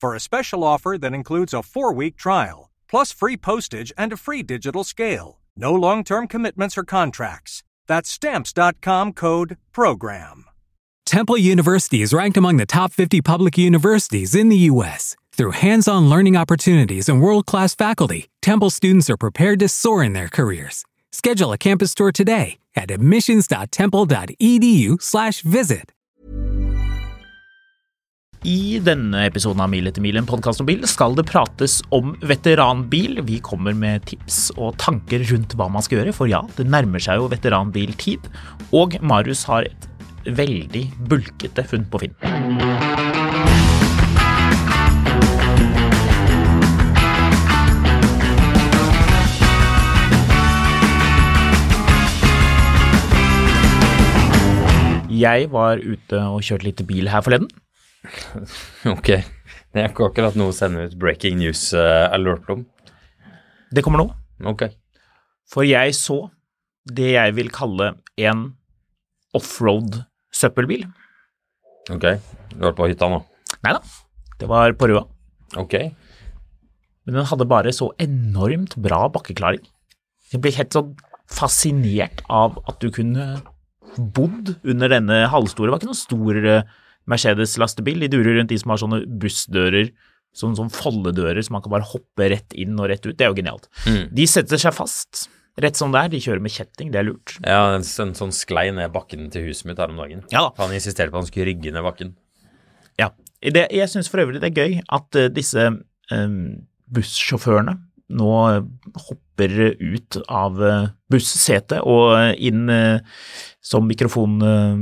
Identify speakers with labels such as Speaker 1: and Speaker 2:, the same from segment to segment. Speaker 1: for a special offer that includes a four week trial, plus free postage and a free digital scale. No long term commitments or contracts. That's Stamps.com code PROGRAM.
Speaker 2: Temple University is ranked among the top 50 public universities in the U.S. Through hands on learning opportunities and world class faculty, Temple students are prepared to soar in their careers. Schedule a campus tour today at E admissions.temple.edu/slash visit.
Speaker 3: I denne episoden av Mil etter mil, en podkast om bil, skal det prates om veteranbil. Vi kommer med tips og tanker rundt hva man skal gjøre, for ja, det nærmer seg jo veteranbiltid. Og Marius har et veldig bulkete funn på Finn. Jeg var ute og kjørte litt bil her forleden.
Speaker 4: Ok. Det er ikke akkurat noe å sende ut breaking news-alert om.
Speaker 3: Det kommer nå.
Speaker 4: Ok.
Speaker 3: For jeg så det jeg vil kalle en offroad søppelbil.
Speaker 4: Ok. Du har vært på hytta nå?
Speaker 3: Nei da, det var på Røa.
Speaker 4: Ok.
Speaker 3: Men den hadde bare så enormt bra bakkeklaring. Jeg ble helt sånn fascinert av at du kunne bodd under denne halvstore. Det var ikke noen stor eh, Mercedes-lastebil. De durer rundt de som har sånne bussdører, sånne, sånne foldedører som man kan bare hoppe rett inn og rett ut. Det er jo genialt. De setter seg fast rett som det er. De kjører med kjetting, det er lurt.
Speaker 4: Ja, en, s- en sånn sklei ned bakken til huset mitt her om dagen.
Speaker 3: Ja da.
Speaker 4: Han insisterte på at han skulle rygge ned bakken.
Speaker 3: Ja. Det, jeg syns for øvrig det er gøy at eh, disse eh, bussjåførene nå eh, hopper ut av eh, bussetet og eh, inn eh, som mikrofon... eh,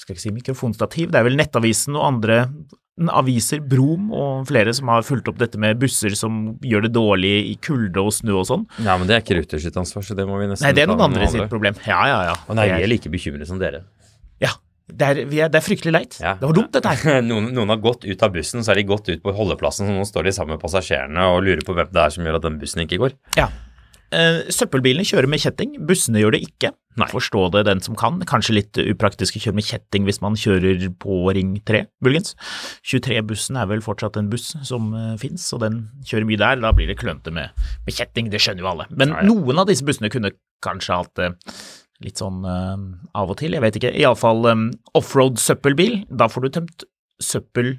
Speaker 3: skal ikke si mikrofonstativ, det er vel Nettavisen og andre aviser, Brom og flere som har fulgt opp dette med busser som gjør det dårlig i kulde og snø og sånn.
Speaker 4: Ja, men det er ikke Ruter sitt ansvar, så det må vi nesten
Speaker 3: Nei, det er
Speaker 4: ta
Speaker 3: noen andre
Speaker 4: med
Speaker 3: sitt problem. Ja, ja, ja.
Speaker 4: Og nei, vi
Speaker 3: det,
Speaker 4: er
Speaker 3: er,
Speaker 4: like bekymret som dere.
Speaker 3: ja. Det, er, vi er, det er fryktelig leit.
Speaker 4: Ja.
Speaker 3: Det var dumt, dette her.
Speaker 4: Noen, noen har gått ut av bussen, så har de gått ut på holdeplassen, så nå står de sammen med passasjerene og lurer på hvem det er som gjør at den bussen ikke går.
Speaker 3: Ja. Eh, søppelbilene kjører med kjetting, bussene gjør det ikke. Forstå det den som kan. Kanskje litt upraktisk å kjøre med kjetting hvis man kjører på Ring 3, muligens. 23-bussen er vel fortsatt en buss som uh, fins, og den kjører mye der. Da blir det klønete med, med kjetting, det skjønner jo alle. Men
Speaker 4: Ja, ja.
Speaker 3: noen av disse bussene kunne kanskje hatt eh, litt sånn eh, av og til, jeg vet ikke. Iallfall um, offroad søppelbil. Da får du tømt søppel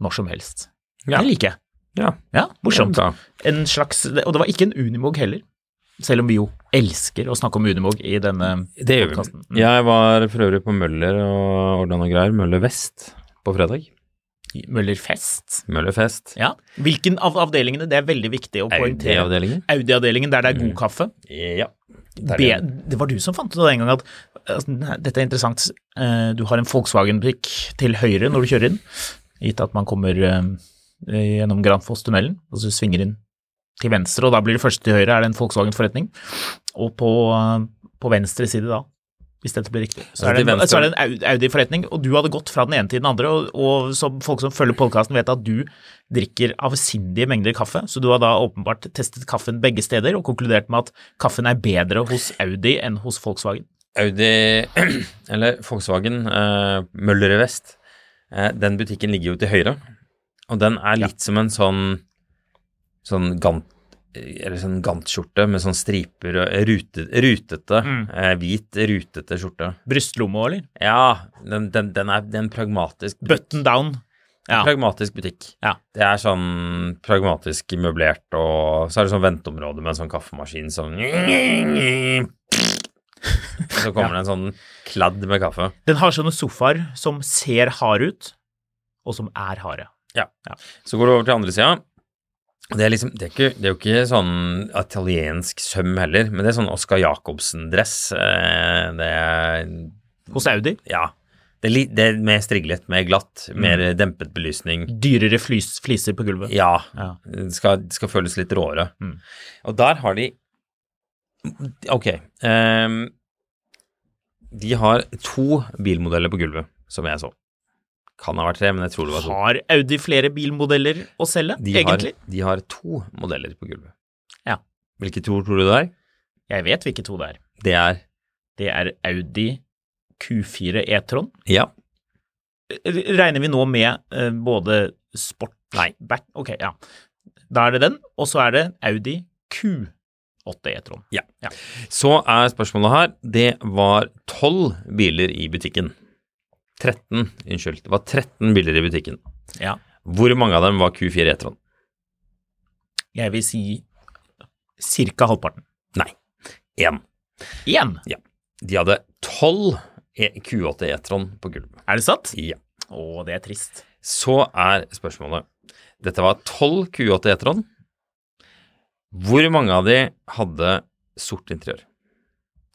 Speaker 3: når som helst.
Speaker 4: Ja.
Speaker 3: Det liker jeg.
Speaker 4: Ja,
Speaker 3: Ja, morsomt.
Speaker 4: Ja,
Speaker 3: en slags, og det var ikke en Unimog heller, selv om vi jo elsker å snakke om Unimog i denne
Speaker 4: det gjør vi.
Speaker 3: podcasten.
Speaker 4: Jeg var for øvrig på Møller og ordna noe greier. Møller Vest på fredag.
Speaker 3: Møllerfest.
Speaker 4: Møller Fest.
Speaker 3: Ja. Hvilken av avdelingene? Det er veldig viktig å poengtere.
Speaker 4: Audi-avdelingen. Mm.
Speaker 3: Audi-avdelingen der det er god kaffe.
Speaker 4: Ja.
Speaker 3: Be, det var du som fant ut av det en gang at altså, nei, dette er interessant, eh, du har en Volkswagen-prikk til høyre når du kjører inn, gitt at man kommer eh, gjennom Granfoss-tunnelen, og så svinger inn til venstre, og da blir det første til høyre, er det en Volkswagen-forretning, og på, eh, på venstre side da, hvis dette blir riktig, så
Speaker 4: Altså,
Speaker 3: er det,
Speaker 4: til
Speaker 3: en-
Speaker 4: venstre-
Speaker 3: så er det en Au- Audi-forretning, og du hadde gått fra den ene til den andre, og, og så folk som følger podkasten vet at du drikker avsindige mengder kaffe, så du har da åpenbart testet kaffen begge steder og konkludert med at kaffen er bedre hos Audi enn hos Volkswagen.
Speaker 4: Audi, eller Volkswagen, eh, Møller i vest, eh, den butikken ligger jo til høyre, og den er litt som en sånn, sånn gant, eller sånn gantskjorte med sånn striper, og rute, rutete, eh, hvit, rutete skjorte.
Speaker 3: Brystlomme, eller?
Speaker 4: Ja, den, den, den, er, den er en pragmatisk.
Speaker 3: Button down. Ja.
Speaker 4: Pragmatisk butikk.
Speaker 3: Ja.
Speaker 4: Det er sånn pragmatisk møblert, og så er det sånn venteområde med en sånn kaffemaskin sånn Så kommer det en sånn kladd med kaffe.
Speaker 3: Den har sånne sofaer som ser hard ut, og som er harde.
Speaker 4: Så går du over til andre sida. Det er, liksom, det, er ikke, det er jo ikke sånn italiensk søm heller, men det er sånn Oscar Jacobsen-dress. eh, Det er
Speaker 3: Hos Audi
Speaker 4: ja. Det er, li, det er mer striglet, mer glatt, mer
Speaker 3: Mm.
Speaker 4: dempet belysning.
Speaker 3: dyrere flys, fliser på gulvet.
Speaker 4: Ja.
Speaker 3: Ja.
Speaker 4: Det skal, det skal føles litt råere.
Speaker 3: Mm.
Speaker 4: Og der har de Ok. ehm, de har to bilmodeller på gulvet, som jeg så. Kan ha vært tre, men jeg tror det var to.
Speaker 3: Har Audi flere bilmodeller å selge,
Speaker 4: De
Speaker 3: egentlig?
Speaker 4: Har, de har to modeller på gulvet.
Speaker 3: Ja.
Speaker 4: Hvilke to tror du det er?
Speaker 3: Jeg vet hvilke to det er.
Speaker 4: Det er
Speaker 3: Det er Audi Q4 E-tron.
Speaker 4: Ja.
Speaker 3: Regner vi nå med eh, både sport Nei, back Ok, ja. Da er det den, og så er det Audi Q8 E-tron.
Speaker 4: Så er spørsmålet her Det var 12 biler i butikken. 13, unnskyld. Det var 13 biler i butikken.
Speaker 3: Ja.
Speaker 4: Hvor mange av dem var Q4 E-tron?
Speaker 3: Jeg vil si ca. halvparten.
Speaker 4: Nei, én.
Speaker 3: Én,
Speaker 4: De hadde 12 E- Q8 E-tron på gulvet.
Speaker 3: er det sant?
Speaker 4: Ja.
Speaker 3: Å, det er trist.
Speaker 4: Så er spørsmålet Dette var 12 Q8 E-tron. Hvor mange av de hadde sort interiør?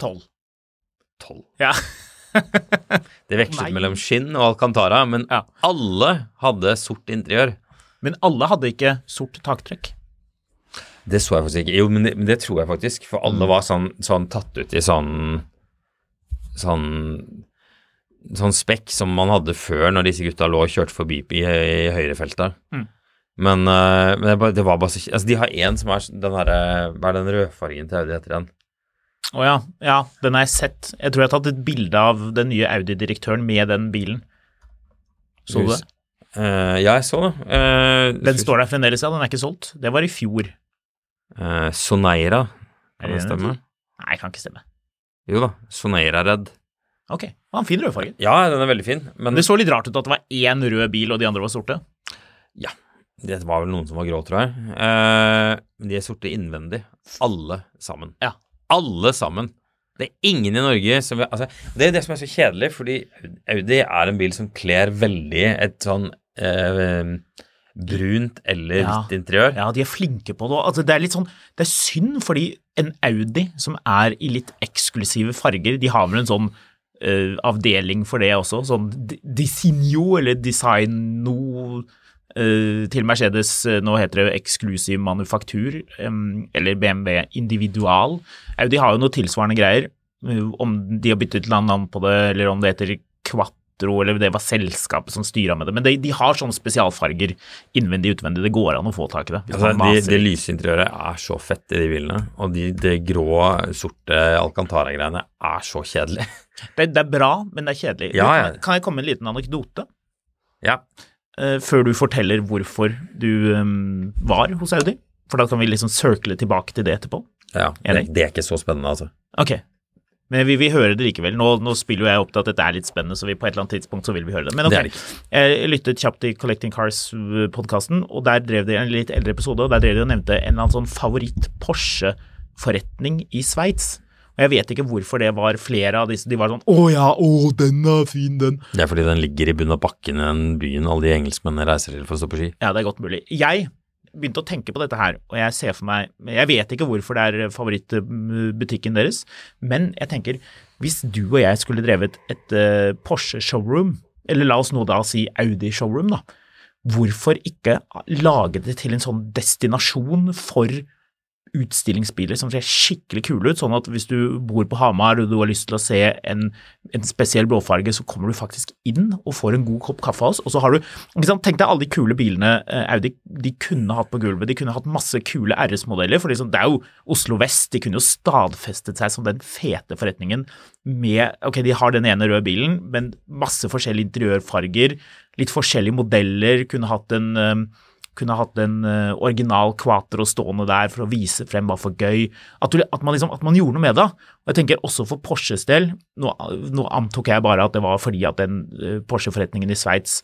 Speaker 3: Tolv.
Speaker 4: 12.
Speaker 3: Ja.
Speaker 4: Det vekslet
Speaker 3: Nei.
Speaker 4: mellom skinn og alcantara, men
Speaker 3: Ja.
Speaker 4: alle hadde sort interiør.
Speaker 3: Men alle hadde ikke sort taktrekk.
Speaker 4: Det så jeg faktisk ikke. Jo, men det, men det tror jeg faktisk, for
Speaker 3: Mm.
Speaker 4: alle var sånn, sånn tatt ut i sånn sånn sånn spekk som man hadde før når disse gutta lå og kjørte forbi i, i høyrefeltet.
Speaker 3: Mm.
Speaker 4: Men, eh, men det, bare- det var bare så Altså, de har én som er den derre Hva er den rødfargen til Audi heter igjen?
Speaker 3: Å ja, ja, den har jeg sett. Jeg tror jeg har tatt et bilde av den nye Audi-direktøren med den bilen. Så du det?
Speaker 4: Eh, ja, jeg så det. Eh,
Speaker 3: Den står der fremdeles, ja. Den er ikke solgt. Det var i fjor.
Speaker 4: eh, Soneira, kan
Speaker 3: Er
Speaker 4: det
Speaker 3: det den?
Speaker 4: stemme?
Speaker 3: Nei, kan ikke stemme.
Speaker 4: Jo da, Soneira Red.
Speaker 3: Ok, det var en fin rødfarge.
Speaker 4: Ja, den er veldig fin, men
Speaker 3: Men det så litt rart ut at det var én rød bil, og de andre var sorte.
Speaker 4: Det var vel noen som var grå, tror jeg. Eh, men de er sorte innvendig. Alle sammen.
Speaker 3: Ja.
Speaker 4: Alle sammen. Det er ingen i Norge som vil altså, Det er det som er så kjedelig, fordi Audi er en bil som kler veldig et sånn eh, brunt eller
Speaker 3: Ja.
Speaker 4: hvitt interiør.
Speaker 3: Ja, de er flinke på det. Altså, det er litt sånn, det er synd fordi en Audi som er i litt eksklusive farger, de har vel en sånn eh, avdeling for det også, sånn di- Disigno eller Designo eh, til Mercedes, eh, nå heter det eksklusiv manufaktur, em, eller BMW individual. Audi har jo noe tilsvarende greier, eh, om de har byttet land navn på det, eller om det heter Quattro, eller det var selskapet som styra med det. Men de, de har sånne spesialfarger innvendig utvendig. Det går an å få tak i det. hvis
Speaker 4: Altså,
Speaker 3: man
Speaker 4: det,
Speaker 3: maser.
Speaker 4: det lyse interiøret er så fett i de bilene, og de, det grå, sorte Alcantara-greiene er så kjedelig.
Speaker 3: Det, det er bra, men det er kjedelig. Du,
Speaker 4: Ja, ja.
Speaker 3: Kan, kan jeg komme med en liten anekdote?
Speaker 4: Ja.
Speaker 3: eh, før du forteller hvorfor du eh, var hos Audi? For da kan vi liksom circle tilbake til det etterpå.
Speaker 4: ja det,
Speaker 3: Enig.
Speaker 4: det er ikke så spennende, altså.
Speaker 3: Ok. Men vi vil høre det likevel. Nå, nå spiller jo jeg opp til at dette er litt spennende, så vi på et eller annet tidspunkt så vil vi høre det. Men ok,
Speaker 4: Det er det
Speaker 3: jeg lyttet kjapt til Collecting Cars-podkasten, og der drev de en litt eldre episode, og der drev de og nevnte en eller annen sånn favoritt-Porsche-forretning i Sveits. Og jeg vet ikke hvorfor det var flere av disse. De var sånn Å ja, å, den er fin, den.
Speaker 4: Det er fordi den ligger i bunnen av bakken i den byen alle de engelskmennene reiser til for å stå på ski.
Speaker 3: Ja, det er godt mulig. Jeg begynte å tenke på dette her, og jeg ser for meg Jeg vet ikke hvorfor det er favorittbutikken deres, men jeg tenker hvis du og jeg skulle drevet et eh, Porsche-showroom, eller la oss nå da si Audi-showroom, da, hvorfor ikke lage det til en sånn destinasjon for utstillingsbiler som ser skikkelig kule ut, sånn at hvis du bor på Hamar og du har lyst til å se en, en spesiell blåfarge, så kommer du faktisk inn og får en god kopp kaffe av oss, og så har du ikke sant, Tenk deg alle de kule bilene eh, Audi de kunne hatt på gulvet. De kunne hatt masse kule RS-modeller, for liksom, det er jo Oslo Vest. De kunne jo stadfestet seg som den fete forretningen med Ok, de har den ene røde bilen, men masse forskjellige interiørfarger, litt forskjellige modeller, kunne hatt en eh, kunne hatt en eh, original quatro stående der for å vise frem hva for gøy. At, du, at, man liksom, at man gjorde noe med det. Og jeg tenker også for Porsches del, nå, nå antok jeg bare at det var fordi at den eh, Porsche-forretningen i Sveits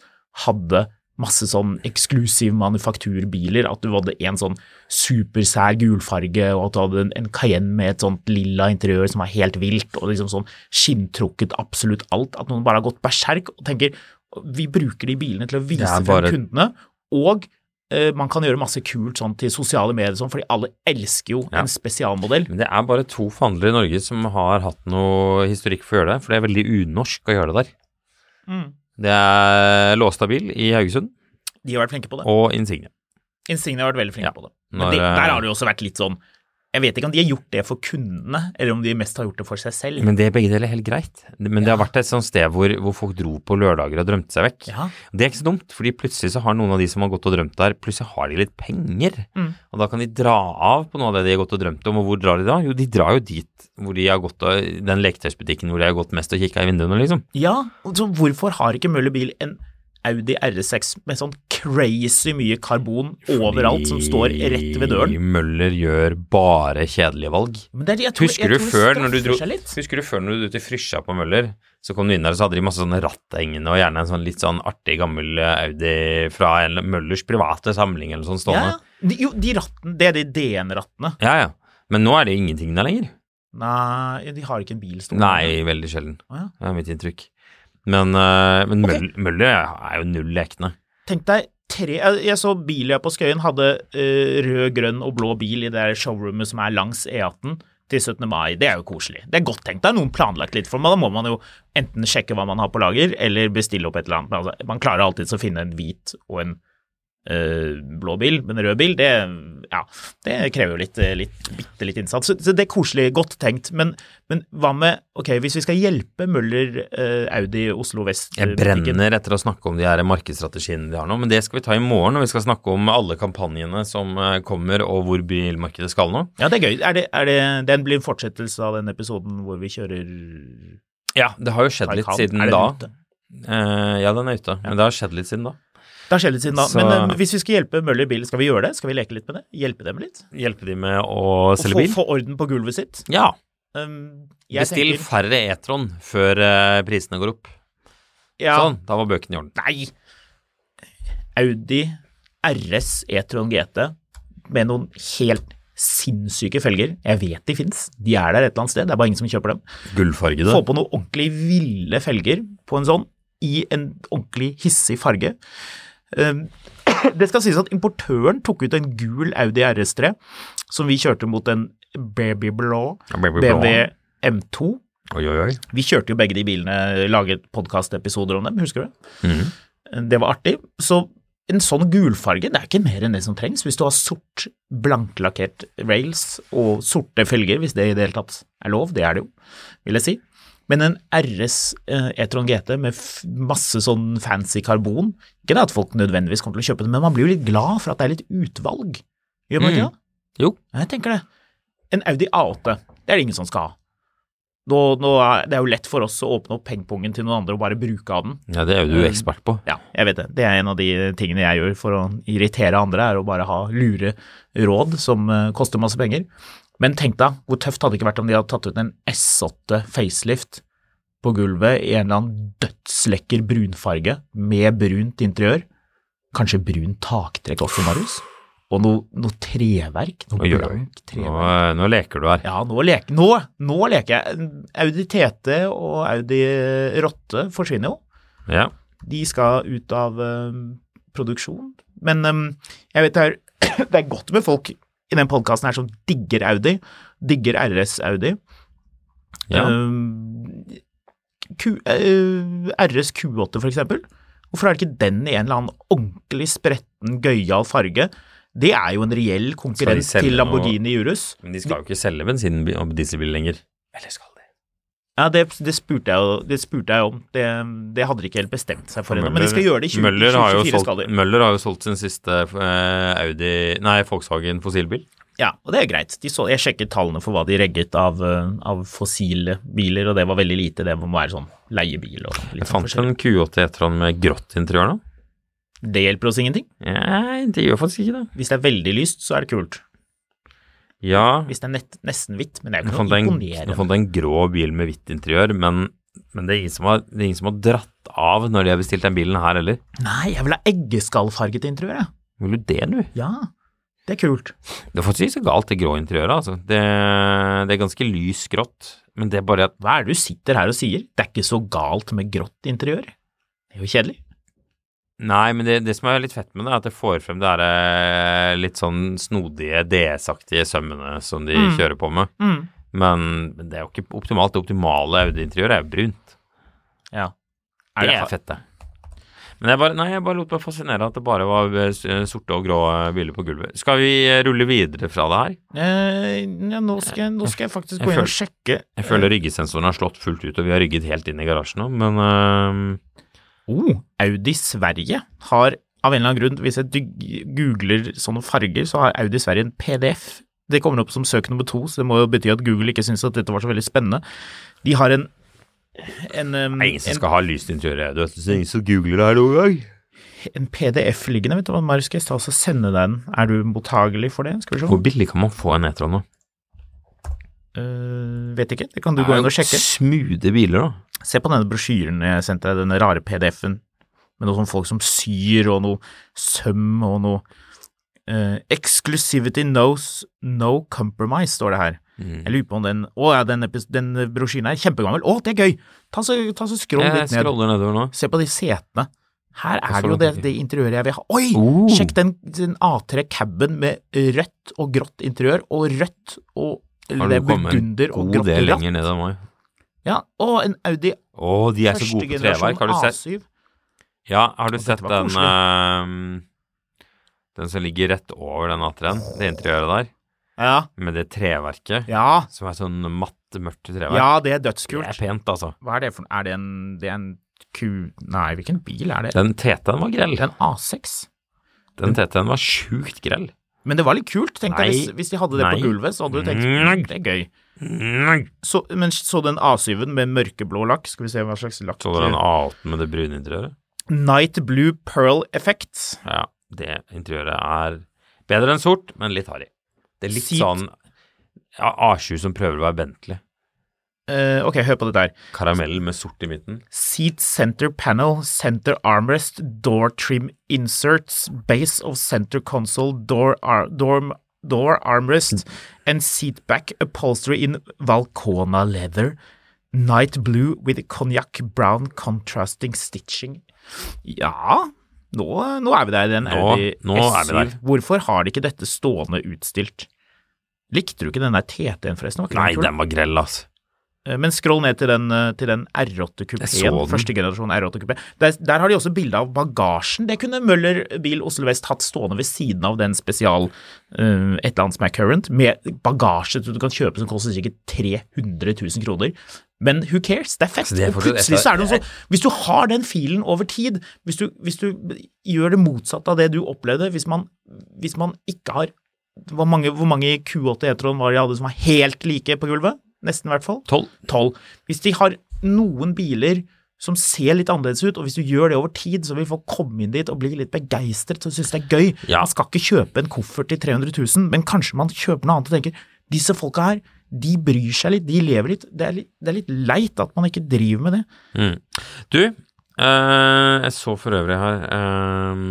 Speaker 3: hadde masse sånn eksklusiv manufakturbiler. At du hadde en sånn supersær gulfarge, og at du hadde en, en Cayenne med et sånt lilla interiør som var helt vilt, og liksom sånn skinntrukket absolutt alt. At noen bare har gått berserk og tenker vi bruker de bilene til å
Speaker 4: Det
Speaker 3: vise
Speaker 4: er
Speaker 3: frem
Speaker 4: bare-
Speaker 3: kundene. Og eh, man kan gjøre masse kult sånn til sosiale medier, og sånn, fordi alle elsker jo
Speaker 4: Ja.
Speaker 3: en spesialmodell.
Speaker 4: Men det er bare to forhandlere i Norge som har hatt noe historikk for å gjøre det, for det er veldig unorsk å gjøre det der. Det er Låstabil i Haugesund
Speaker 3: De har vært flinke på det.
Speaker 4: og Insigne.
Speaker 3: Insignia har vært veldig flinke
Speaker 4: Ja.
Speaker 3: på det. Men
Speaker 4: Når,
Speaker 3: det,
Speaker 4: eh,
Speaker 3: der har det jo også vært litt sånn Jeg vet ikke om de har gjort det for kundene, eller om de mest har gjort det for seg selv.
Speaker 4: Men det er begge deler helt greit. Men det har vært et sånt sted hvor, hvor folk dro på lørdager og drømte seg vekk.
Speaker 3: Ja.
Speaker 4: Det er ikke så dumt, fordi plutselig så har noen av de som har gått og drømt der, plutselig har de litt penger.
Speaker 3: Mm.
Speaker 4: Og da kan de dra av på noe av det de har gått og drømt om. Og hvor drar de da? Jo, de drar jo dit hvor de har gått og, den leketøysbutikken hvor de har gått mest og kikka i vinduene, liksom.
Speaker 3: ja, og så hvorfor har ikke Møller Bil en Audi R6 med sånn crazy mye karbon overalt som står rett ved døren?
Speaker 4: Fordi Møller gjør bare kjedelige valg.
Speaker 3: Men det, er- jeg tror,
Speaker 4: Husker
Speaker 3: jeg
Speaker 4: du,
Speaker 3: tror det
Speaker 4: før, når du
Speaker 3: straffer
Speaker 4: dro,
Speaker 3: seg litt.
Speaker 4: husker du før når du dro til Frysja på Møller, så kom du inn der og så hadde de masse sånne ratthengende og gjerne en sånn litt sånn artig gammel eh, Audi fra en Møllers private samling eller sånn
Speaker 3: Ja,
Speaker 4: stående.
Speaker 3: ja. De- jo, de rattene, det er de DN-rattene.
Speaker 4: Ja, ja. Men nå er det ingenting der lenger.
Speaker 3: Nei, de har ikke en bil stående.
Speaker 4: Nei, veldig sjelden.
Speaker 3: Å, ja.
Speaker 4: Det er mitt inntrykk. Men, eh, men
Speaker 3: Ok.
Speaker 4: Møll- Møller er jo null lekne.
Speaker 3: Tenk deg tre Jeg, jeg så bilen på Skøyen hadde eh, rød, grønn og blå bil i det der showroomet som er langs E18 til 17. mai. Det er jo koselig. Det er godt tenkt. Det er noen planlagt litt for meg. Da må man jo enten sjekke hva man har på lager, eller bestille opp et eller annet. Men altså, man klarer alltids å finne en hvit og en eh, blå bil, men rød bil, det, ja, det krever jo litt, eh, litt, bitte litt innsats. Så, så det er koselig, godt tenkt. Men, men hva med Ok, hvis vi skal hjelpe Møller eh, Audi Oslo Vest
Speaker 4: Jeg brenner etter å snakke om de her markedsstrategiene de har nå, men det skal vi ta i morgen når vi skal snakke om alle kampanjene som eh, kommer og hvor bilmarkedet skal nå.
Speaker 3: Ja, det er gøy. Er det, er det, den blir en fortsettelse av den episoden hvor vi kjører
Speaker 4: Ja, det har jo skjedd litt
Speaker 3: Taycan.
Speaker 4: siden
Speaker 3: Er den
Speaker 4: da.
Speaker 3: ute?
Speaker 4: Eh, ja, den er ute, men det har skjedd litt siden da.
Speaker 3: Det har skjedd litt siden da.
Speaker 4: Så-
Speaker 3: Men eh, hvis vi skal hjelpe Møller bil, skal vi gjøre det? Skal vi leke litt med det? Hjelpe dem litt?
Speaker 4: Hjelpe de med å
Speaker 3: Og
Speaker 4: selge
Speaker 3: få,
Speaker 4: bil?
Speaker 3: få orden på gulvet sitt?
Speaker 4: Ja.
Speaker 3: Um, jeg
Speaker 4: Bestill
Speaker 3: tenker-
Speaker 4: færre E-tron før eh, prisene går opp.
Speaker 3: ja.
Speaker 4: Sånn, da var bøkene i orden.
Speaker 3: Nei! Audi RS E-tron GT med noen helt sinnssyke felger. Jeg vet de fins. De er der et eller annet sted. Det er bare ingen som kjøper dem.
Speaker 4: Gullfargede.
Speaker 3: Få på noen ordentlig ville felger på en sånn, i en ordentlig hissig farge. Um, Det skal sies at importøren tok ut en gul Audi RS3, som vi kjørte mot en baby blå
Speaker 4: Baby blå.
Speaker 3: BMW M2.
Speaker 4: Oi, oi, oi.
Speaker 3: Vi kjørte jo begge de bilene, laget podkastepisoder om dem, husker du?
Speaker 4: Mhm.
Speaker 3: Det var artig. Så en sånn gulfarge, det er ikke mer enn det som trengs. Hvis du har sort, blanklakkert rails og sorte felger, hvis det i det hele tatt er lov, det er det jo, vil jeg si. Men en RS eh, E-tron GT med f masse sånn fancy karbon Ikke det at folk nødvendigvis kommer til å kjøpe det, men man blir jo litt glad for at det er litt utvalg. Gjør man ikke
Speaker 4: Mm.
Speaker 3: det?
Speaker 4: Jo.
Speaker 3: Ja, Jeg tenker det. En Audi A8, det er det ingen som skal ha. Nå, nå er, det er jo lett for oss å åpne opp pengepungen til noen andre og bare bruke av den.
Speaker 4: Ja, det er jo du ekspert på.
Speaker 3: Ja, jeg vet det. Det er en av de tingene jeg gjør for å irritere andre, er å bare ha lure råd som eh, koster masse penger. Men tenk deg, hvor tøft hadde det ikke vært om de hadde tatt ut en S8 facelift på gulvet i en eller annen dødslekker brunfarge med brunt interiør. Kanskje brunt taktrekk også, Marius? Og noe, noe treverk? Noe
Speaker 4: Oi, oi, oi.
Speaker 3: blankt
Speaker 4: Nå,
Speaker 3: treverk?
Speaker 4: eh, nå leker du her.
Speaker 3: Ja, nå leker, nå, nå leker jeg. Audi TT og Audi Rotte forsvinner jo.
Speaker 4: Ja.
Speaker 3: De skal ut av eh, produksjon. Men eh, jeg vet det er, det er godt med folk i den podkasten her som digger Audi. Digger RS Audi.
Speaker 4: ja.
Speaker 3: Eh, Q, eh, RS Q8 for eksempel. Hvorfor er det ikke den i en eller annen ordentlig spretten, gøyal farge? Det er jo en reell
Speaker 4: Skal de
Speaker 3: konkurrent
Speaker 4: selge
Speaker 3: til
Speaker 4: noe-
Speaker 3: Lamborghini Urus.
Speaker 4: Men de skal jo ikke selge bensin og dieselbil lenger. Eller skal de?
Speaker 3: Ja, det, det, spurte jeg, jo- det spurte jeg om. Det, det hadde de ikke helt bestemt seg for ennå, men de skal gjøre det i 20,
Speaker 4: Møller har, jo
Speaker 3: 2024. skal
Speaker 4: solgt,
Speaker 3: de.
Speaker 4: Møller har jo solgt sin siste eh, Audi Nei, Volkswagen fossilbil.
Speaker 3: Ja, og det er greit. De så, jeg sjekket tallene for hva de regget av, eh, av fossile biler, og det var veldig lite. Det må være sånn leiebil og litt
Speaker 4: Jeg
Speaker 3: sånn
Speaker 4: fant
Speaker 3: forskjellig.
Speaker 4: en Q8 E-tron med grått interiør nå.
Speaker 3: Det hjelper oss ingenting.
Speaker 4: Nei, det gjør faktisk ikke det.
Speaker 3: Hvis det er veldig lyst, så er det kult.
Speaker 4: Ja,
Speaker 3: Hvis det er nett, nesten hvitt, men det er
Speaker 4: jeg
Speaker 3: jo ikke
Speaker 4: fant,
Speaker 3: noe
Speaker 4: en, jeg
Speaker 3: imponerende.
Speaker 4: fant en grå bil med hvitt interiør, men Men det er, ingen som har, det er ingen som har dratt av når de har bestilt den bilen her heller.
Speaker 3: Nei, jeg vil ha eggeskallfarget interiør, jeg.
Speaker 4: Vil du det, du?
Speaker 3: Ja, det er kult.
Speaker 4: Det er faktisk ikke så galt det grå interiøret, altså. Det, det er ganske lys grått, men det er bare at
Speaker 3: Hva er det du sitter her og sier? Det er ikke så galt med grått interiør. Det er jo kjedelig.
Speaker 4: Nei, men det, det som er litt fett med det, er at det får frem det derre litt sånn snodige, DS-aktige sømmene som de
Speaker 3: Mm.
Speaker 4: kjører på med. Men, men det er jo ikke optimalt. Det optimale Audi-interiøret er jo brunt.
Speaker 3: Ja.
Speaker 4: Det er,
Speaker 3: fa-
Speaker 4: fett, det. Men jeg bare, nei, jeg bare lot meg fascinere at det bare var eh, s- sorte og grå eh, biler på gulvet. Skal vi eh, rulle videre fra det her?
Speaker 3: Eh, ja, nå, skal, jeg- nå skal jeg faktisk
Speaker 4: Jeg
Speaker 3: gå inn og
Speaker 4: føl-
Speaker 3: sjekke. eh,
Speaker 4: Jeg føler ryggesensoren har slått fullt ut, og vi har rygget helt inn i garasjen nå, men eh,
Speaker 3: Oh, Audi Sverige har av en eller annen grunn, hvis jeg dyg- googler sånne farger, så har Audi Sverige en PDF. Det kommer opp som søk nummer to, så det må jo bety at Google ikke syns at dette var så veldig spennende. De har en en, um,
Speaker 4: det er ingen som
Speaker 3: en,
Speaker 4: skal ha lyst interiør. Du vet, det er ingen som googler det her noen gang.
Speaker 3: en PDF liggende, vet du hva, Marius, skal jeg ta og sende deg den? Er du mottagelig for det? Skal vi se.
Speaker 4: Hvor billig kan man få en e-tron nå?
Speaker 3: Eh, vet ikke, det kan du gå inn og sjekke.
Speaker 4: Smoothe biler, da.
Speaker 3: Se på denne brosjyren jeg sendte deg, denne rare PDF-en med noe sånn folk som syr og noe søm og noe eh, Exclusivity knows no compromise, står det her.
Speaker 4: Mm.
Speaker 3: Jeg lurer på om den Å ja, den, epis- den brosjyren er kjempegammel. Å, det er gøy! Ta så, ta så skroll
Speaker 4: Jeg
Speaker 3: litt ned.
Speaker 4: scroller nedover nå.
Speaker 3: Se på de setene. Her
Speaker 4: Jeg
Speaker 3: er
Speaker 4: så
Speaker 3: det jo det,
Speaker 4: den ikke.
Speaker 3: det interiøret jeg vil ha. Oi!
Speaker 4: Oh.
Speaker 3: Sjekk den, den A3 caben med rødt og grått interiør, og rødt og
Speaker 4: Har
Speaker 3: eller
Speaker 4: du
Speaker 3: det er
Speaker 4: kommet en
Speaker 3: burgunder og
Speaker 4: god
Speaker 3: grått
Speaker 4: del
Speaker 3: og
Speaker 4: lenger
Speaker 3: ratt.
Speaker 4: ned enn meg?
Speaker 3: Ja, og en Audi
Speaker 4: Å, de er så
Speaker 3: første
Speaker 4: gode på treverk. Har du
Speaker 3: generasjon
Speaker 4: sett?
Speaker 3: A7.
Speaker 4: Ja,
Speaker 3: Å,
Speaker 4: har du
Speaker 3: dette
Speaker 4: sett
Speaker 3: var
Speaker 4: den
Speaker 3: koselig.
Speaker 4: ehm, Den som ligger rett over den A3-en, det interiøret der,
Speaker 3: Ja,
Speaker 4: med det treverket,
Speaker 3: ja,
Speaker 4: som er sånn matt, mørkt treverk.
Speaker 3: ja, det er
Speaker 4: Det er
Speaker 3: dødskult.
Speaker 4: pent, altså.
Speaker 3: Hva er det for Er det en, det er en ku... Nei, hvilken bil er det?
Speaker 4: Den TT-en var grell.
Speaker 3: Det er en A6.
Speaker 4: Den TT-en var sjukt grell.
Speaker 3: Men det var litt kult, tenkte jeg.
Speaker 4: Nei.
Speaker 3: Hvis, hvis de hadde det
Speaker 4: Nei.
Speaker 3: på gulvet, så hadde du tenkt
Speaker 4: Nei.
Speaker 3: "Mm, det er gøy.
Speaker 4: Så
Speaker 3: Så, men så den A7-en med mørkeblå lakk? Skal vi se hva slags lakk
Speaker 4: du den A8 med det brune interiøret?
Speaker 3: Night Blue Pearl Effect.
Speaker 4: Ja, det interiøret er bedre enn sort, men litt harry. Det er litt
Speaker 3: Sip.
Speaker 4: sånn ja, A7 som prøver å være Bentley.
Speaker 3: Eh, ok, hør på dette her.
Speaker 4: Karamell med sort i midten.
Speaker 3: Seat center panel, center armrest, door trim inserts, base of center console, door, ar door, door armrest, and seat back upholstery in Valcona leather, night blue with cognac brown contrasting stitching. Ja, nå, nå er vi der i den
Speaker 4: Nå-
Speaker 3: Audi
Speaker 4: nå er vi
Speaker 3: S7. Hvorfor har de ikke dette stående utstilt? Likte du ikke den der TT-en forresten? Var ikke den
Speaker 4: Nei,
Speaker 3: kul?
Speaker 4: den var grell, altså.
Speaker 3: Eh, Men scroll ned til den, eh, til den R8
Speaker 4: Jeg så
Speaker 3: kupeen.
Speaker 4: den.
Speaker 3: Første generasjon R8 kupé. Der, der har de også bilde av bagasjen. Det kunne Møller Bil Oslo Vest hatt stående ved siden av den spesial eh, et eller annet som er current, med bagasje som du kan kjøpe som koster sikkert 300 000 kroner. Men who cares, det er fett.
Speaker 4: Altså, det er
Speaker 3: og
Speaker 4: fortsatt-
Speaker 3: plutselig så er det noe sånn Hvis du har den filen over tid, hvis du, hvis du gjør det motsatte av det du opplevde, hvis man, hvis man ikke har hvor mange, hvor mange Q8 E-tron var det de hadde som var helt like på gulvet? Nesten, i hvert fall.
Speaker 4: Tolv.
Speaker 3: Tolv. Hvis de har noen biler som ser litt annerledes ut, og hvis du gjør det over tid, så vil folk komme inn dit og bli litt begeistret og synes det er gøy.
Speaker 4: Ja.
Speaker 3: Man skal ikke kjøpe en koffert til 300 000, men kanskje man kjøper noe annet og tenker disse folka her, de bryr seg litt, de lever litt. Det er litt, det er litt leit at man ikke driver med det.
Speaker 4: Mm. Du, eh, jeg så for øvrig her eh,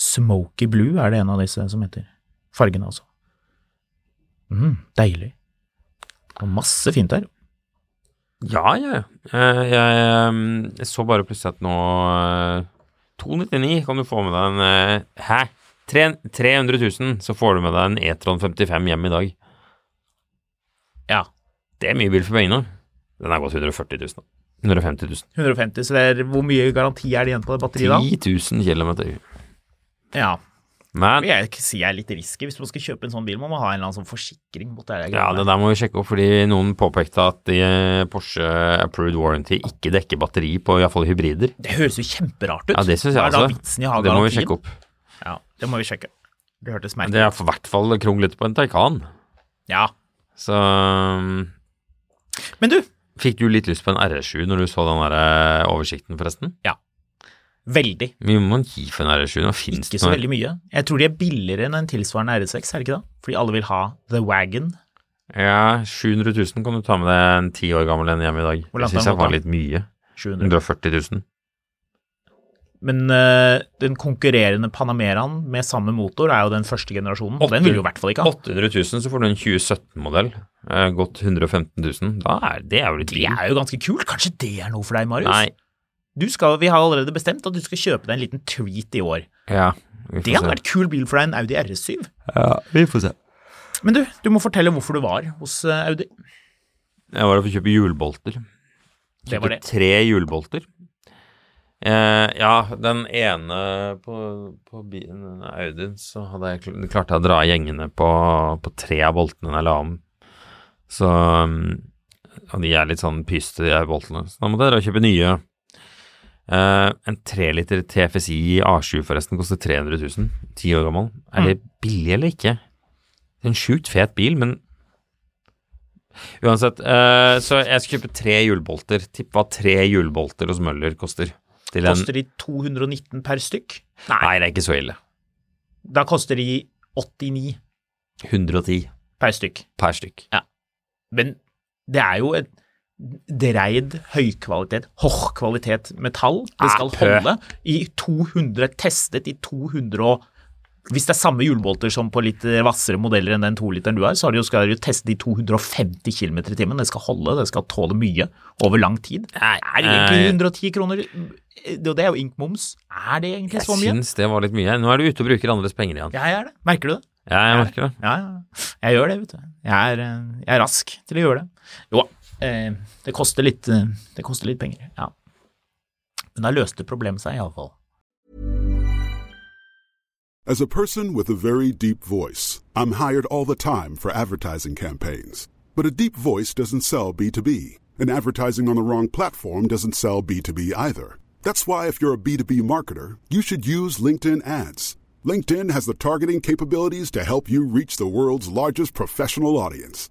Speaker 3: Smoky blue er det en av disse som heter. Fargene, altså. Mm, deilig. Og masse fint her.
Speaker 4: Ja, ja, ja. Eh, jeg, eh, jeg så bare plutselig at nå eh, 299 kan du få med deg en eh, Hæ? Tre, 300 000, så får du med deg en E-tron 55 hjem i dag.
Speaker 3: Ja.
Speaker 4: Det er mye bil for pengene. Den er gått 140 000. da. 150 000.
Speaker 3: 150, så det er, hvor mye garanti er det igjen på det batteriet da?
Speaker 4: 10 000 kilometer.
Speaker 3: Ja,
Speaker 4: Men
Speaker 3: vil jeg ikke si er litt risky. Hvis man skal kjøpe en sånn bil, må man ha en eller annen sånn forsikring mot det der.
Speaker 4: ja, det
Speaker 3: greiene.
Speaker 4: der må vi sjekke opp, fordi noen påpekte at eh, Porsche Approved Warranty ikke dekker batteri på iallfall hybrider.
Speaker 3: det høres jo kjemperart ut.
Speaker 4: Ja, det syns jeg
Speaker 3: Hva er da
Speaker 4: altså.
Speaker 3: vitsen i å ha
Speaker 4: Det må vi
Speaker 3: garantien?
Speaker 4: sjekke opp.
Speaker 3: Ja, det må vi sjekke. Det hørtes
Speaker 4: Det
Speaker 3: merkelig ut.
Speaker 4: er i hvert fall kronglete på en Taycan.
Speaker 3: Ja.
Speaker 4: Så um,
Speaker 3: Men du,
Speaker 4: fikk du litt lyst på en RS7 når du så den der eh, oversikten, forresten?
Speaker 3: veldig.
Speaker 4: Mye må man gi for en RS7? Nå finnes
Speaker 3: Ikke
Speaker 4: det
Speaker 3: så
Speaker 4: noe
Speaker 3: veldig mye. Jeg tror de er billigere enn en tilsvarende RS6, er det ikke da? Fordi alle vil ha The Wagon.
Speaker 4: Ja, 700 000 kan du ta med deg en ti år gammel en hjem i dag.
Speaker 3: Hvor
Speaker 4: Det
Speaker 3: langt
Speaker 4: syns
Speaker 3: har
Speaker 4: jeg
Speaker 3: den gått,
Speaker 4: var
Speaker 3: da?
Speaker 4: litt mye.
Speaker 3: 700.
Speaker 4: 140 000.
Speaker 3: Men eh, den konkurrerende Panameraen med samme motor er jo den første generasjonen, og den vil du jo i hvert fall ikke ha.
Speaker 4: 800 000, så får du en 2017-modell. Eh, gått 115 000. Da er det er jo litt
Speaker 3: Det
Speaker 4: lite.
Speaker 3: er jo ganske kult. Kanskje det er noe for deg, Marius?
Speaker 4: Nei.
Speaker 3: Du skal, vi har allerede bestemt at du skal kjøpe deg en liten treat i år.
Speaker 4: Ja. vi får
Speaker 3: Det hadde
Speaker 4: se.
Speaker 3: vært kul bil for deg, en Audi RS7.
Speaker 5: Altså- Vi får se. Men du,
Speaker 3: Du må fortelle hvorfor du var hos eh, Audi.
Speaker 4: Jeg var der for å kjøpe hjulbolter.
Speaker 3: Det var det.
Speaker 4: Tre hjulbolter. Eh, ja, den ene på, på bilen, den Audien, så hadde jeg, kl- klarte jeg å dra gjengene på, på tre av boltene jeg la om. Så mm, Og de er litt sånn pyste, de her boltene. Så da måtte jeg dra og kjøpe nye. Eh, en treliter TFSI A7 forresten koster 300 000. Ti år gammel. Er det
Speaker 3: Mm.
Speaker 4: billig eller ikke? Det er en sjukt fet bil, men Uansett, eh, så jeg skal kjøpe tre hjulbolter. Tipp hva tre hjulbolter hos Møller koster. Til en,
Speaker 3: Koster de 219 per stykk?
Speaker 4: nei, det er ikke så ille.
Speaker 3: Da koster de 89
Speaker 4: 110
Speaker 3: per stykk.
Speaker 4: per stykk.
Speaker 3: Men det er jo et dreid høykvalitet, hochkvalitet metall. Det skal
Speaker 4: Ah, pø.
Speaker 3: holde i 200, testet i 200 og Hvis det er samme hjulbolter som på litt hvassere modeller enn den 2-literen du har, så har de jo, skal de jo testet i 250 km i timen. Det skal holde, det skal tåle mye over lang tid.
Speaker 4: Nei,
Speaker 3: Er det egentlig 110 kroner? Det det er jo ink-moms. Er det egentlig
Speaker 4: Jeg
Speaker 3: så mye?
Speaker 4: syns det var litt mye. Nå er du ute og bruker andres penger igjen.
Speaker 3: Ja, jeg er det. Merker du det?
Speaker 4: Ja, jeg merker det.
Speaker 3: Ja, ja. Jeg gjør det, vet du. Jeg er, eh, jeg er rask til å gjøre det. Jo, eh, det koster litt, eh, det koster litt penger, ja. Men da løste problemet seg iallfall.
Speaker 6: As a person with a very deep voice, I'm hired all the time for advertising campaigns. But a deep voice doesn't sell B2B, and advertising on the wrong platform doesn't sell B2B either. That's why, if you're a B2B marketer, you should use LinkedIn ads. LinkedIn has the targeting capabilities to help you reach the world's largest professional audience.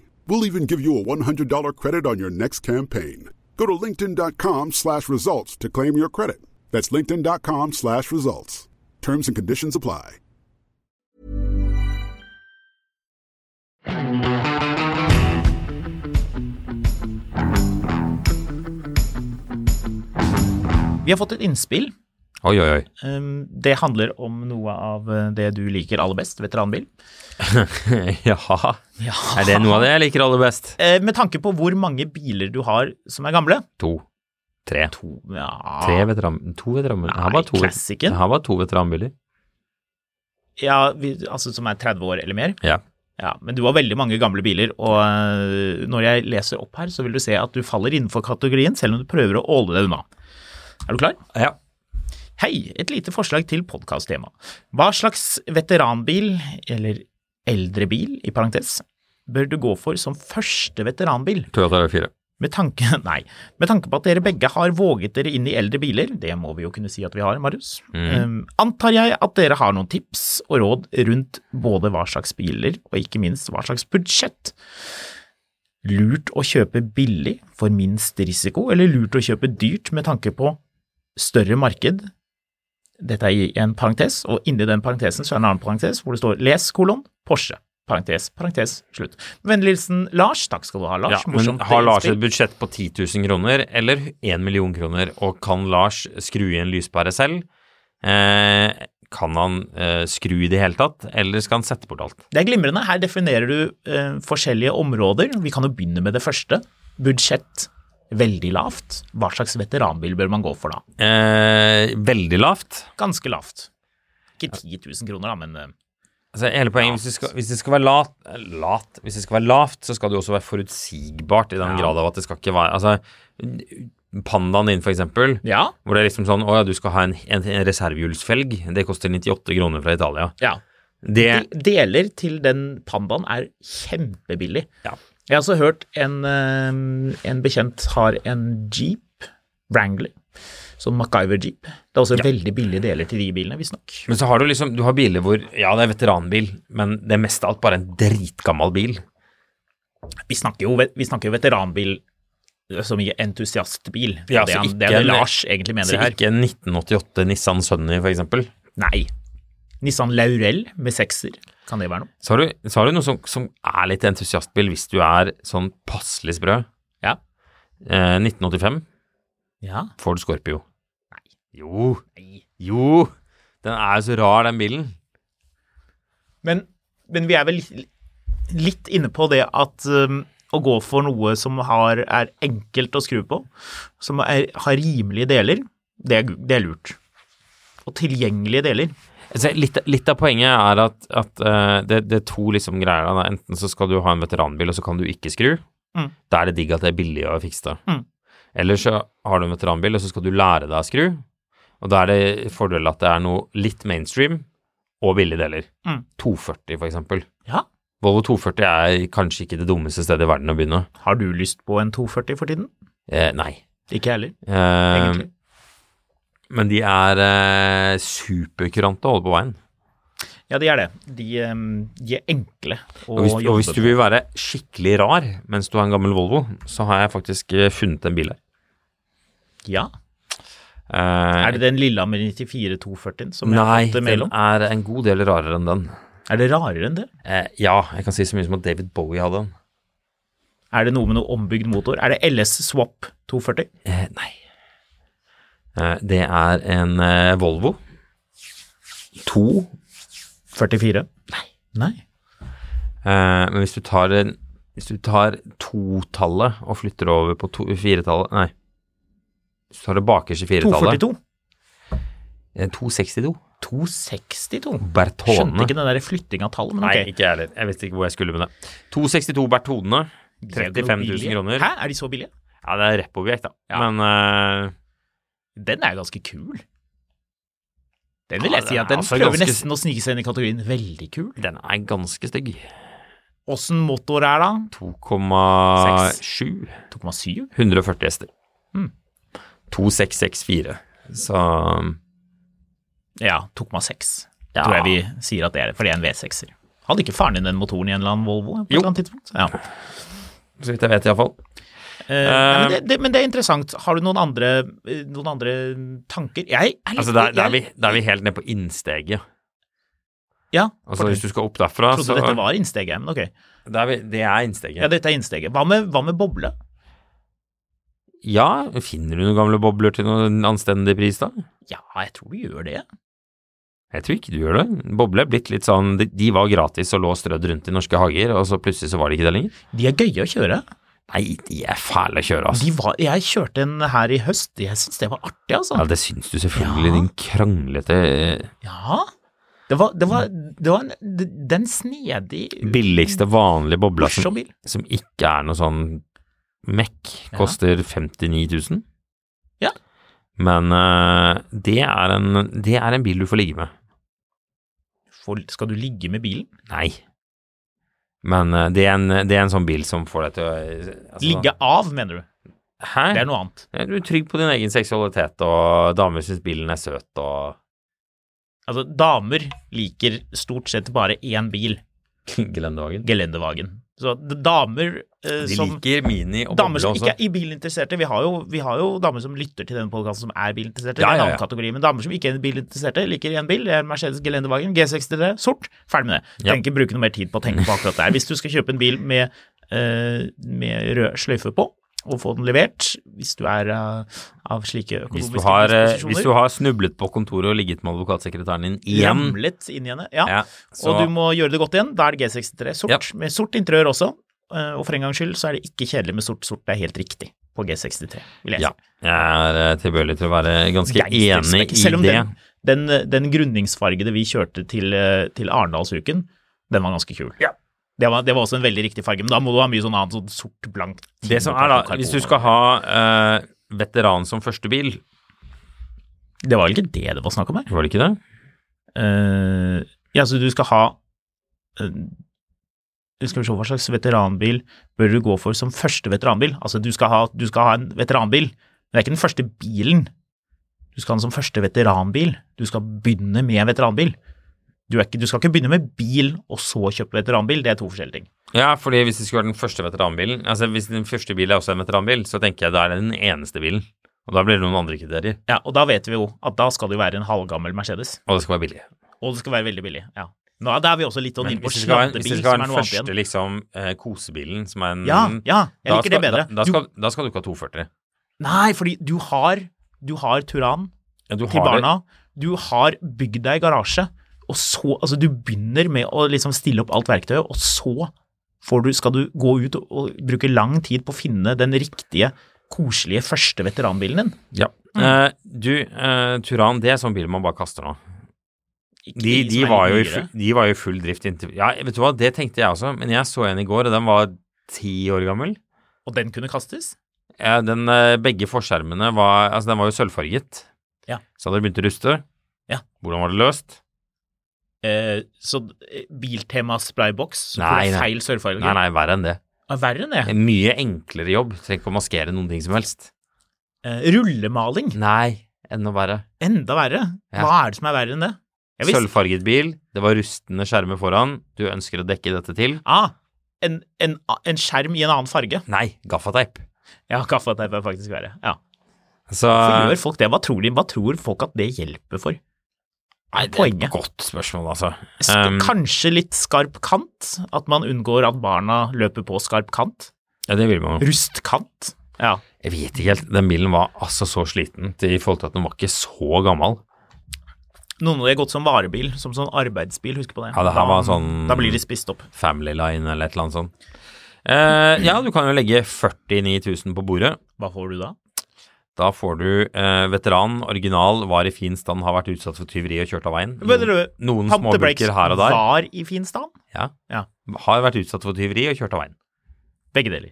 Speaker 6: We'll even give you a $100 credit on your next campaign. Go to linkedin.com slash results to claim your credit. That's linkedin.com slash results. Terms and conditions apply.
Speaker 3: Vi har fått et innspill.
Speaker 4: Oi, oi, oi.
Speaker 3: Um, Det handler om noe av eh, det du liker aller best, veteranbil.
Speaker 4: Jaha.
Speaker 3: Ja.
Speaker 4: Er det noe av det jeg liker aller best?
Speaker 3: Eh, Med tanke på hvor mange biler du har som er gamle
Speaker 4: To. Tre.
Speaker 3: To, ja.
Speaker 4: Tre veteran... To veteranbiler. Jeg har
Speaker 3: Nei,
Speaker 4: bare to-
Speaker 3: klassikken.
Speaker 4: Jeg har bare to veteranbiler.
Speaker 3: ja vi, altså som er 30 år eller mer.
Speaker 4: Ja.
Speaker 3: Ja, men du har veldig mange gamle biler, og øh, når jeg leser opp her, så vil du se at du faller innenfor kategorien, selv om du prøver å åle deg unna. Er du klar?
Speaker 4: ja.
Speaker 3: Hei, et lite forslag til podkasttema. Hva slags veteranbil, eller eldre bil i parentes, bør du gå for som første veteranbil?
Speaker 4: Toyota R4.
Speaker 3: Med tanke, nei, med tanke på at dere begge har våget dere inn i eldre biler, det må vi jo kunne si at vi har, Marius,
Speaker 4: Mm.
Speaker 3: ehm, antar jeg at dere har noen tips og råd rundt både hva slags biler og ikke minst hva slags budsjett. Lurt å kjøpe billig for minst risiko, eller lurt å kjøpe dyrt med tanke på større marked? Dette er i en parentes, og inni den parentesen så er det en annen parentes hvor det står les kolon Porsche. Parentes, parentes, slutt. Vennlig hilsen Lars. Takk skal du ha, Lars.
Speaker 4: Ja, men
Speaker 3: Morsomt
Speaker 4: har Lars
Speaker 3: innspill.
Speaker 4: et budsjett på 10 000 kroner eller 1 million kroner, og kan Lars skru i en lyspære selv? Eh, kan han eh, skru i det hele tatt, eller skal han sette bort alt?
Speaker 3: Det er glimrende. Her definerer du eh, forskjellige områder. Vi kan jo begynne med det første. Budsjett veldig lavt. Hva slags veteranbil bør man gå for da?
Speaker 4: Eh, veldig lavt.
Speaker 3: Ganske lavt. Ikke 10 000 kroner, da, men eh,
Speaker 4: Altså, hele poenget, hvis det, skal, hvis det skal være lat, eh, lat Hvis det skal være lavt, så skal det jo også være forutsigbart, i den grad av at det skal ikke være Altså, pandaen din, for eksempel,
Speaker 3: ja.
Speaker 4: hvor det er liksom sånn Å ja, du skal ha en, en, en reservehjulsfelg. Det koster 98 kroner fra Italia.
Speaker 3: ja.
Speaker 4: Det
Speaker 3: Deler til den pandaen er kjempebillig.
Speaker 4: Ja.
Speaker 3: Jeg har også hørt en, eh, en bekjent har en Jeep Wrangler, sånn MacGyver-jeep. Det er også veldig billige deler til de bilene, visstnok.
Speaker 4: Men så har du liksom Du har biler hvor Ja, det er veteranbil, men det er mest av alt bare en dritgammel bil.
Speaker 3: Vi snakker jo, vi snakker jo veteranbil eh, som i entusiastbil.
Speaker 4: Ja,
Speaker 3: det,
Speaker 4: så
Speaker 3: er,
Speaker 4: ikke
Speaker 3: det er det
Speaker 4: en-
Speaker 3: Lars egentlig mener
Speaker 4: Så
Speaker 3: her.
Speaker 4: ikke en 1988 Nissan Sunny, for eksempel.
Speaker 3: Nei. Nissan Laurel med sekser, kan det være noe?
Speaker 4: Så har du, så har du noe som, som er litt entusiastbil hvis du er sånn passelig sprø.
Speaker 3: Ja.
Speaker 4: Eh, 1985,
Speaker 3: Ja.
Speaker 4: Ford Scorpio.
Speaker 3: Nei.
Speaker 4: Jo,
Speaker 3: Nei.
Speaker 4: jo! Den er jo så rar, den bilen.
Speaker 3: Men, men vi er vel litt, litt inne på det at um, å gå for noe som har, er enkelt å skru på, som er, har rimelige deler, det er, det er lurt. Og tilgjengelige deler.
Speaker 4: Altså, litt, litt av poenget er at, at eh, det, det er to liksom greier da. Enten så skal du ha en veteranbil, og så kan du ikke skru.
Speaker 3: Mm.
Speaker 4: Da er det digg at det er billig å fikse det.
Speaker 3: Mm.
Speaker 4: Eller så har du en veteranbil, og så skal du lære deg å skru. Og da er det fordel at det er noe litt mainstream og billige deler.
Speaker 3: Mm.
Speaker 4: 240 for eksempel.
Speaker 3: Ja.
Speaker 4: Volvo 240 er kanskje ikke det dummeste stedet i verden å begynne.
Speaker 3: Har du lyst på en 240 for tiden?
Speaker 4: Eh, nei.
Speaker 3: Ikke jeg heller,
Speaker 4: Eh,
Speaker 3: egentlig.
Speaker 4: men de er eh, superkurante å holde på veien.
Speaker 3: Ja, de er det. De, um, de er enkle å
Speaker 4: Og hvis, og hvis
Speaker 3: jobbe
Speaker 4: du
Speaker 3: med.
Speaker 4: vil være skikkelig rar mens du har en gammel Volvo, så har jeg faktisk eh, funnet en bil her.
Speaker 3: Ja.
Speaker 4: Eh,
Speaker 3: Er det den Lillehammer 94 240-en som jeg
Speaker 4: Nei,
Speaker 3: har fått mail
Speaker 4: den
Speaker 3: om?
Speaker 4: er en god del rarere enn den.
Speaker 3: Er det rarere enn det?
Speaker 4: Eh, ja, jeg kan si så mye som at David Bowie hadde den.
Speaker 3: Er det noe med noe ombygd motor? Er det LS Swap 240?
Speaker 4: Eh, nei. Eh, det er en eh, Volvo. To.
Speaker 3: 44? Nei. Nei.
Speaker 4: Eh, men hvis du tar, en- hvis du tar totallet og flytter over på to, firetallet Nei. Hvis du tar det bakerste firetallet
Speaker 3: 242?
Speaker 4: eh, 262.
Speaker 3: 262? Skjønte
Speaker 4: Bertone.
Speaker 3: ikke den der flytting av tall, men
Speaker 4: Nei,
Speaker 3: ok.
Speaker 4: ikke jeg heller. Jeg visste ikke hvor jeg skulle med det. 262 Bertone. 35 000 kroner.
Speaker 3: Hæ, er de så billige?
Speaker 4: Ja, det er repp-objekt, da.
Speaker 3: Ja.
Speaker 4: Men eh,
Speaker 3: Den er ganske kul. Den vil
Speaker 4: Ja,
Speaker 3: jeg si
Speaker 4: den
Speaker 3: at den
Speaker 4: er altså
Speaker 3: prøver
Speaker 4: ganske-
Speaker 3: nesten å snike seg inn i kategorien veldig kul.
Speaker 4: den er ganske stygg.
Speaker 3: Åssen motor er da?
Speaker 4: 2,7.
Speaker 3: 2,7?
Speaker 4: 140 hester.
Speaker 3: Mm.
Speaker 4: 2664. Så um,
Speaker 3: Ja, 2,6
Speaker 4: ja.
Speaker 3: tror jeg vi sier at det er, for det er en V6-er. Hadde ikke faren din den motoren i en eller annen Volvo? på et
Speaker 4: Jo.
Speaker 3: eller annet tidspunkt? Ja.
Speaker 4: Så vidt jeg vet, iallfall.
Speaker 3: Eh, nei, men, det, det, men det er interessant. Har du noen andre, eh, noen andre tanker? Jeg er litt
Speaker 4: Altså, der, der, er vi,
Speaker 3: jeg-
Speaker 4: der er vi helt ned på innsteget.
Speaker 3: Ja,
Speaker 4: Altså,
Speaker 3: fortell.
Speaker 4: hvis du altså, øh. skal opp derfra,
Speaker 3: trodde
Speaker 4: så
Speaker 3: dette var innsteget, men ok.
Speaker 4: Det er, vi- det er
Speaker 3: Ja,
Speaker 4: innsteget.
Speaker 3: dette er innsteget. Hva med, hva med boble?
Speaker 4: Ja, finner du noen gamle bobler til noen anstendig pris, da?
Speaker 3: Ja, jeg tror vi gjør det.
Speaker 4: Jeg tror ikke du gjør det. Bobler er blitt litt sånn De, de var gratis og lå strødd rundt i norske hager, og så plutselig så var de ikke det lenger.
Speaker 3: De er gøye å kjøre.
Speaker 4: Nei, de er fæle å kjøre, altså.
Speaker 3: De var, jeg kjørte en her i høst. Jeg syns det var artig,
Speaker 4: Ja,
Speaker 3: altså.
Speaker 4: det syns du selvfølgelig,
Speaker 3: Ja.
Speaker 4: din kranglete eh,
Speaker 3: Ja. Det var, det var, det var en, d- den snedig,
Speaker 4: billigste vanlige bobla som,
Speaker 3: morsom bil.
Speaker 4: som ikke er noe sånn mekk,
Speaker 3: Ja.
Speaker 4: koster 59 000.
Speaker 3: Ja.
Speaker 4: Men eh, det, er en, det er en bil du får ligge med.
Speaker 3: For, skal du ligge med bilen?
Speaker 4: Nei. Men eh, det, er en, det er en sånn bil som får deg til å eh, altså-
Speaker 3: Ligge av, mener du.
Speaker 4: Hæ?
Speaker 3: Det er noe annet.
Speaker 4: Er Du er trygg på din egen seksualitet, og damer syns bilen er søt, og
Speaker 3: Altså, damer liker stort sett bare én bil.
Speaker 4: Gelendevagen.
Speaker 3: Gelendevagen. Så d- damer eh,
Speaker 4: De
Speaker 3: som
Speaker 4: liker Mini og
Speaker 3: Damer
Speaker 4: Boble
Speaker 3: som ikke
Speaker 4: også.
Speaker 3: er i bilinteresserte vi har, jo, vi har jo damer som lytter til denne podkasten som er bilinteresserte. Det
Speaker 4: Ja,
Speaker 3: er
Speaker 4: ja,
Speaker 3: en
Speaker 4: ja.
Speaker 3: annen kategori, men damer som ikke er bilinteresserte, liker én bil. Det er Mercedes Gelendewagen G63 sort. Ferdig med det.
Speaker 4: Ja.
Speaker 3: Trenger ikke bruke noe mer tid på å tenke på akkurat det her. Hvis du skal kjøpe en bil med, eh, med rød sløyfe på, og få den levert, hvis du er eh, av slike
Speaker 4: Hvis
Speaker 3: økonomiske
Speaker 4: du, har, eh,
Speaker 3: disposisjoner,
Speaker 4: hvis du har snublet på kontoret og ligget med advokatsekretæren din igjen,
Speaker 3: ramlet inn i henne, ja,
Speaker 4: ja, så
Speaker 3: og du må gjøre det godt igjen, da er det G63 sort,
Speaker 4: Ja.
Speaker 3: med sort interiør også. eh, Og for en gangs skyld så er det ikke kjedelig med sort. Sort det er helt riktig på G63, vil jeg si.
Speaker 4: Ja, jeg er eh, tilbøyelig til å være ganske enig
Speaker 3: Gangsterspekk.
Speaker 4: i
Speaker 3: Selv om
Speaker 4: det.
Speaker 3: Den, den, den grunningsfargede vi kjørte til, eh, til Arendalsuken, den var ganske kul. Det, var, det var også en veldig riktig farge, men da må du ha mye sånn annet, sånn sort, blankt.
Speaker 4: Det som er da, hvis du skal ha eh, veteran som første bil,
Speaker 3: Det var vel ikke det det var snakk om her?
Speaker 4: var det ikke det?
Speaker 3: Eh, ja, så du skal ha eh, skal vi se, hva slags veteranbil bør du gå for som første veteranbil? Altså, du skal ha, du skal ha en veteranbil, men det er ikke den første bilen. Du skal ha den som første veteranbil. Du skal begynne med en veteranbil. Du, er ikke, du skal ikke begynne med bil og så kjøpe veteranbil, det er to forskjellige ting.
Speaker 4: Ja, fordi hvis det skulle vært den første veteranbilen Altså hvis den første bilen er også en veteranbil, så tenker jeg da er det den eneste bilen. Og da blir det noen andre kriterier.
Speaker 3: Ja, og da vet vi jo at da skal det jo være en halvgammel Mercedes,
Speaker 4: Og det skal være billig.
Speaker 3: og det skal være veldig billig. Ja. Nå er da er vi også litt sånn
Speaker 4: Men
Speaker 3: inne på
Speaker 4: hvis det skal være, hvis
Speaker 3: sladdebil, som
Speaker 4: det
Speaker 3: er
Speaker 4: skal være den
Speaker 3: noe annet igjen.
Speaker 4: første liksom eh, kosebilen, som er en
Speaker 3: Ja, ja, jeg
Speaker 4: da
Speaker 3: liker det
Speaker 4: skal-
Speaker 3: bedre.
Speaker 4: Da, da,
Speaker 3: Du-
Speaker 4: skal, da skal du ikke ha 240.
Speaker 3: Nei, fordi du har, du har Turan
Speaker 4: Ja, du
Speaker 3: til
Speaker 4: har det.
Speaker 3: barna, du har bygd deg garasje, og så, altså du begynner med å liksom stille opp alt verktøyet, og så får du, skal du gå ut og, og bruke lang tid på å finne den riktige, koselige første veteranbilen din.
Speaker 4: Ja.
Speaker 3: Mm.
Speaker 4: Eh, du, eh, Turan, det er sånn bil man bare kaster nå. De,
Speaker 3: de
Speaker 4: de,
Speaker 3: som er
Speaker 4: var jo i
Speaker 3: litt
Speaker 4: full,
Speaker 3: nyere.
Speaker 4: de var jo i full drift inntil Ja, vet du hva, det tenkte jeg også, men jeg så en i går, og den var ti år gammel.
Speaker 3: Og den kunne kastes?
Speaker 4: Ja, den, eh, begge forskjermene var Altså, den var jo sølvfarget.
Speaker 3: Ja.
Speaker 4: Så hadde det begynt å ruste.
Speaker 3: Ja.
Speaker 4: Hvordan var det løst?
Speaker 3: Eh, så eh, Biltema sprayboks, så
Speaker 4: Nei,
Speaker 3: får du
Speaker 4: nei.
Speaker 3: feil sørfarge?
Speaker 4: Nei, nei, verre enn det.
Speaker 3: Ah, Verre enn det.
Speaker 4: En mye enklere jobb. Trenger ikke å maskere noen ting som helst.
Speaker 3: Eh, rullemaling,
Speaker 4: Nei, enda verre.
Speaker 3: enda verre.
Speaker 4: Ja.
Speaker 3: Hva er det som er verre enn det? Jeg visste-
Speaker 4: Sølvfarget bil, det var rustne skjermer foran. Du ønsker å dekke dette til?
Speaker 3: Ah, en, en, en skjerm i en annen farge.
Speaker 4: Nei, gaffateip.
Speaker 3: Ja, kaffeteip er faktisk verre. Ja.
Speaker 4: Så eh,
Speaker 3: Hvorfor gjør folk det? Hva tror, de, hva tror folk at det hjelper for?
Speaker 4: Nei, det er et
Speaker 3: Poenget.
Speaker 4: godt spørsmål, altså.
Speaker 3: Sk-
Speaker 4: Um,
Speaker 3: Kanskje litt skarp kant? At man unngår at barna løper på skarp kant?
Speaker 4: Ja, det vil man jo.
Speaker 3: Rustkant? Ja.
Speaker 4: Jeg vet ikke helt. Den bilen var altså så sliten til i forhold til at den var ikke så gammel.
Speaker 3: Noen av de har gått som varebil, som sånn arbeidsbil, husk på det.
Speaker 4: Ja, det her
Speaker 3: da,
Speaker 4: var sånn-
Speaker 3: da blir de spist opp.
Speaker 4: Family Line eller et eller annet sånt. Eh, ja, du kan jo legge 49 000 på bordet.
Speaker 3: Hva får du da?
Speaker 4: Da får du eh, veteran, original, var i fin stand, har vært utsatt for tyveri og kjørt av veien.
Speaker 3: Mener du,
Speaker 4: noen
Speaker 3: Tante Breaks
Speaker 4: småbulker her og der.
Speaker 3: var i fin stand?
Speaker 4: Ja.
Speaker 3: Ja.
Speaker 4: Har vært utsatt for tyveri og kjørt av veien.
Speaker 3: Begge deler.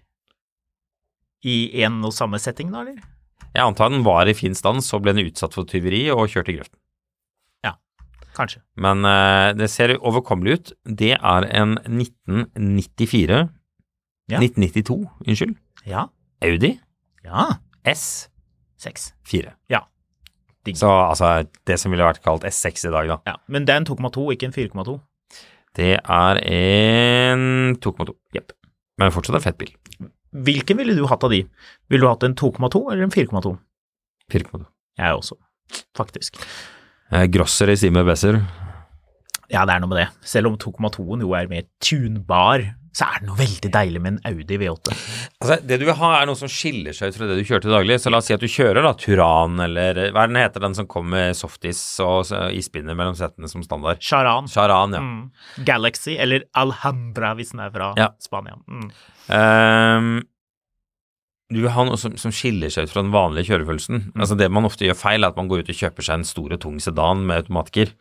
Speaker 3: I en og samme setting, da, eller?
Speaker 4: Jeg antar den var i fin stand, så ble den utsatt for tyveri og kjørt i grøften.
Speaker 3: Kanskje.
Speaker 4: Men eh, det ser overkommelig ut. Det er en 1994
Speaker 3: Ja.
Speaker 4: 1992, unnskyld.
Speaker 3: Ja.
Speaker 4: Audi
Speaker 3: Ja.
Speaker 4: S4.
Speaker 3: Seks. Digg.
Speaker 4: Så altså det som ville vært kalt S6 i dag, da.
Speaker 3: Ja. Men det er en 2,2, ikke en 4,2.
Speaker 4: Det er en 2,2. Jepp. Men fortsatt en fett bil.
Speaker 3: Hvilken ville du hatt av de? Ville du hatt en 2,2 eller en 4,2?
Speaker 4: 4,2.
Speaker 3: Jeg også, faktisk.
Speaker 4: Eh, Grosser i Steamer Besser.
Speaker 3: Ja, det er noe med det. Selv om 2,2-en jo er mer tunbar, så er det noe veldig deilig med en Audi V8.
Speaker 4: Altså, det du vil ha, er noe som skiller seg ut fra det du kjører til daglig. Så la oss si at du kjører da Turan, eller hva er den heter, den som kommer med softis og så- ispinner mellom setene som standard.
Speaker 3: Charan.
Speaker 4: Charan, ja.
Speaker 3: Mm. Galaxy, eller Alhambra hvis den er fra
Speaker 4: Ja.
Speaker 3: Spania. Mm.
Speaker 4: Ehm, du vil ha noe som, som skiller seg ut fra den vanlige kjørefølelsen.
Speaker 3: Mm.
Speaker 4: Altså Det man ofte gjør feil, er at man går ut og kjøper seg en stor og tung sedan med automatiker.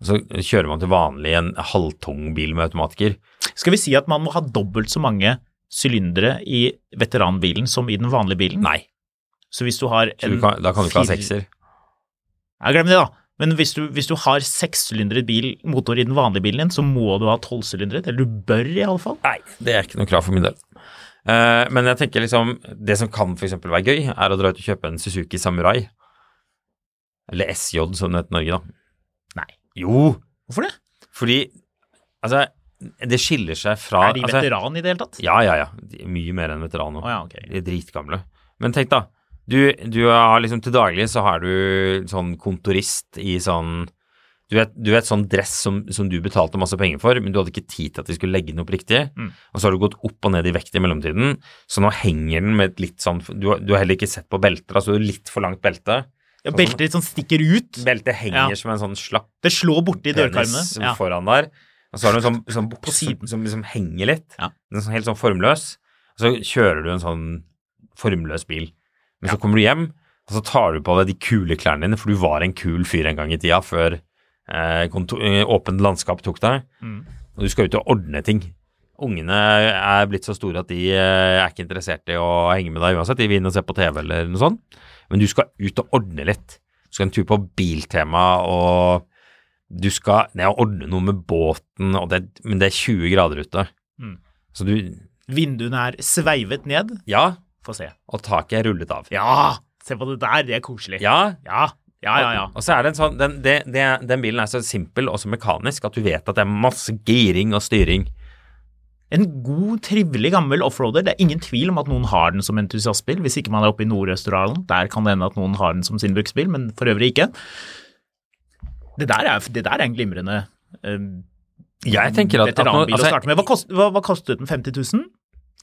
Speaker 4: Og så kjører man til vanlig en halvtung bil med automatiker.
Speaker 3: Skal vi si at man må ha dobbelt så mange sylindere i veteranbilen som i den vanlige bilen?
Speaker 4: Nei,
Speaker 3: Så hvis du har
Speaker 4: så du
Speaker 3: en
Speaker 4: kan, da kan du ikke ha
Speaker 3: fire-
Speaker 4: sekser.
Speaker 3: Ja, glem det, da. Men hvis du, hvis du har sekssylindret bil- motor i den vanlige bilen din, så må du ha tolvsylindret, eller du bør i alle fall.
Speaker 4: Nei, det er ikke noe krav for min del. Eh, men jeg tenker liksom, det som kan for eksempel være gøy, er å dra ut og kjøpe en Suzuki Samurai. Eller SJ, som det heter i Norge, da.
Speaker 3: Nei.
Speaker 4: Jo,
Speaker 3: Hvorfor det?
Speaker 4: fordi altså, det skiller seg fra
Speaker 3: er de
Speaker 4: altså,
Speaker 3: veteran i det hele tatt?
Speaker 4: Ja, ja, ja. De er mye mer enn veteran nå.
Speaker 3: Å ja, ok.
Speaker 4: De er dritgamle. Men tenk, da. Du, du har liksom til daglig så har du sånn kontorist i sånn du vet, du vet sånn dress som, som du betalte masse penger for, men du hadde ikke tid til at de skulle legge den opp riktig.
Speaker 3: Mm.
Speaker 4: Og så har du gått opp og ned i vekt i mellomtiden, så nå henger den med et litt sånn Du, har- du har heller ikke sett på belter, altså du har litt for langt belte.
Speaker 3: Ja,
Speaker 4: altså-
Speaker 3: beltet ditt sånn stikker ut.
Speaker 4: Beltet henger
Speaker 3: Ja.
Speaker 4: som en sånn slapp
Speaker 3: Det slår borti dørkarmene.
Speaker 4: penis
Speaker 3: Ja.
Speaker 4: foran der. Og så har du en sånn, sånn bukse
Speaker 3: siden.
Speaker 4: som liksom henger litt.
Speaker 3: Ja.
Speaker 4: Den er sånn, helt sånn formløs. Og så kjører du en sånn formløs bil. Men så kommer du hjem, og så tar du på deg de kule klærne dine, for du var en kul fyr en gang i tida før eh, konto- eh, åpent landskap tok deg.
Speaker 3: Mm.
Speaker 4: Og du skal ut og ordne ting. Ungene er blitt så store at de eh, er ikke interessert i å henge med deg uansett. De vil inn og se på TV eller noe sånt. Men du skal ut og ordne litt. Du skal en tur på Biltema og du skal ned og ordne noe med båten, og det, men det er 20 grader ute.
Speaker 3: Mm.
Speaker 4: Så du
Speaker 3: Vinduene er sveivet ned.
Speaker 4: Ja,
Speaker 3: Få se.
Speaker 4: og taket er rullet av.
Speaker 3: Ja! Se på det der, det er koselig.
Speaker 4: Ja,
Speaker 3: Ja, ja, ja. ja.
Speaker 4: Og så er det en sånn, den, det, det, den bilen er så simpel og så mekanisk at du vet at det er masse giring og styring.
Speaker 3: En god, trivelig gammel offroader. Det er ingen tvil om at noen har den som entusiastbil, hvis ikke man er oppe i Nord-Østerdalen. Der kan det hende at noen har den som sin bruksbil, men for øvrig ikke. Det der er, det der er en glimrende eh,
Speaker 4: Jeg tenker at, at
Speaker 3: veteranbil
Speaker 4: nå- altså,
Speaker 3: å starte med. Hva, kost, hva, hva kostet den? 50 000?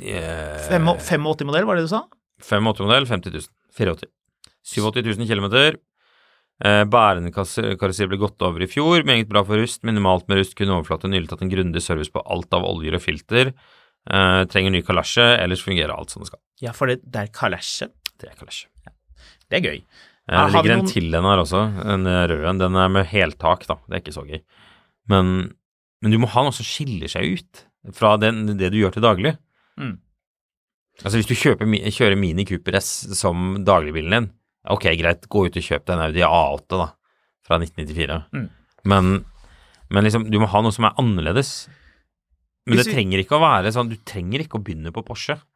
Speaker 4: eh,
Speaker 3: Fem- 85 modell, var det du sa?
Speaker 4: 85-modell, 50 000. 84. 87 000 km. Eh, Bærenkarosser ble gått over i fjor. Meget bra for rust. Minimalt med rust. Kunne overflate nylig tatt en grundig service på alt av oljer og filter. Eh, trenger ny kalasje, ellers fungerer alt som det skal.
Speaker 3: Ja, for det, det er kalasjen.
Speaker 4: Det er kalasje.
Speaker 3: Det er gøy.
Speaker 4: Eh,
Speaker 3: Har
Speaker 4: det
Speaker 3: vi
Speaker 4: ligger en
Speaker 3: noen-
Speaker 4: til en her også, en eh, rød en. Den er med heltak, da. Det er ikke så gøy. Men, men du må ha noe som skiller seg ut fra den, det du gjør til daglig.
Speaker 3: Mm.
Speaker 4: Altså hvis du kjøper, mi- kjører Mini Cooper S som dagligbilen din, ok, greit, gå ut og kjøp deg en Audi A8 da, fra 1994.
Speaker 3: Mm.
Speaker 4: Men, men liksom, du må ha noe som er annerledes. Men
Speaker 3: Hvis
Speaker 4: det
Speaker 3: vi-
Speaker 4: trenger ikke å være sånn, du trenger ikke å begynne på Porsche. Altså,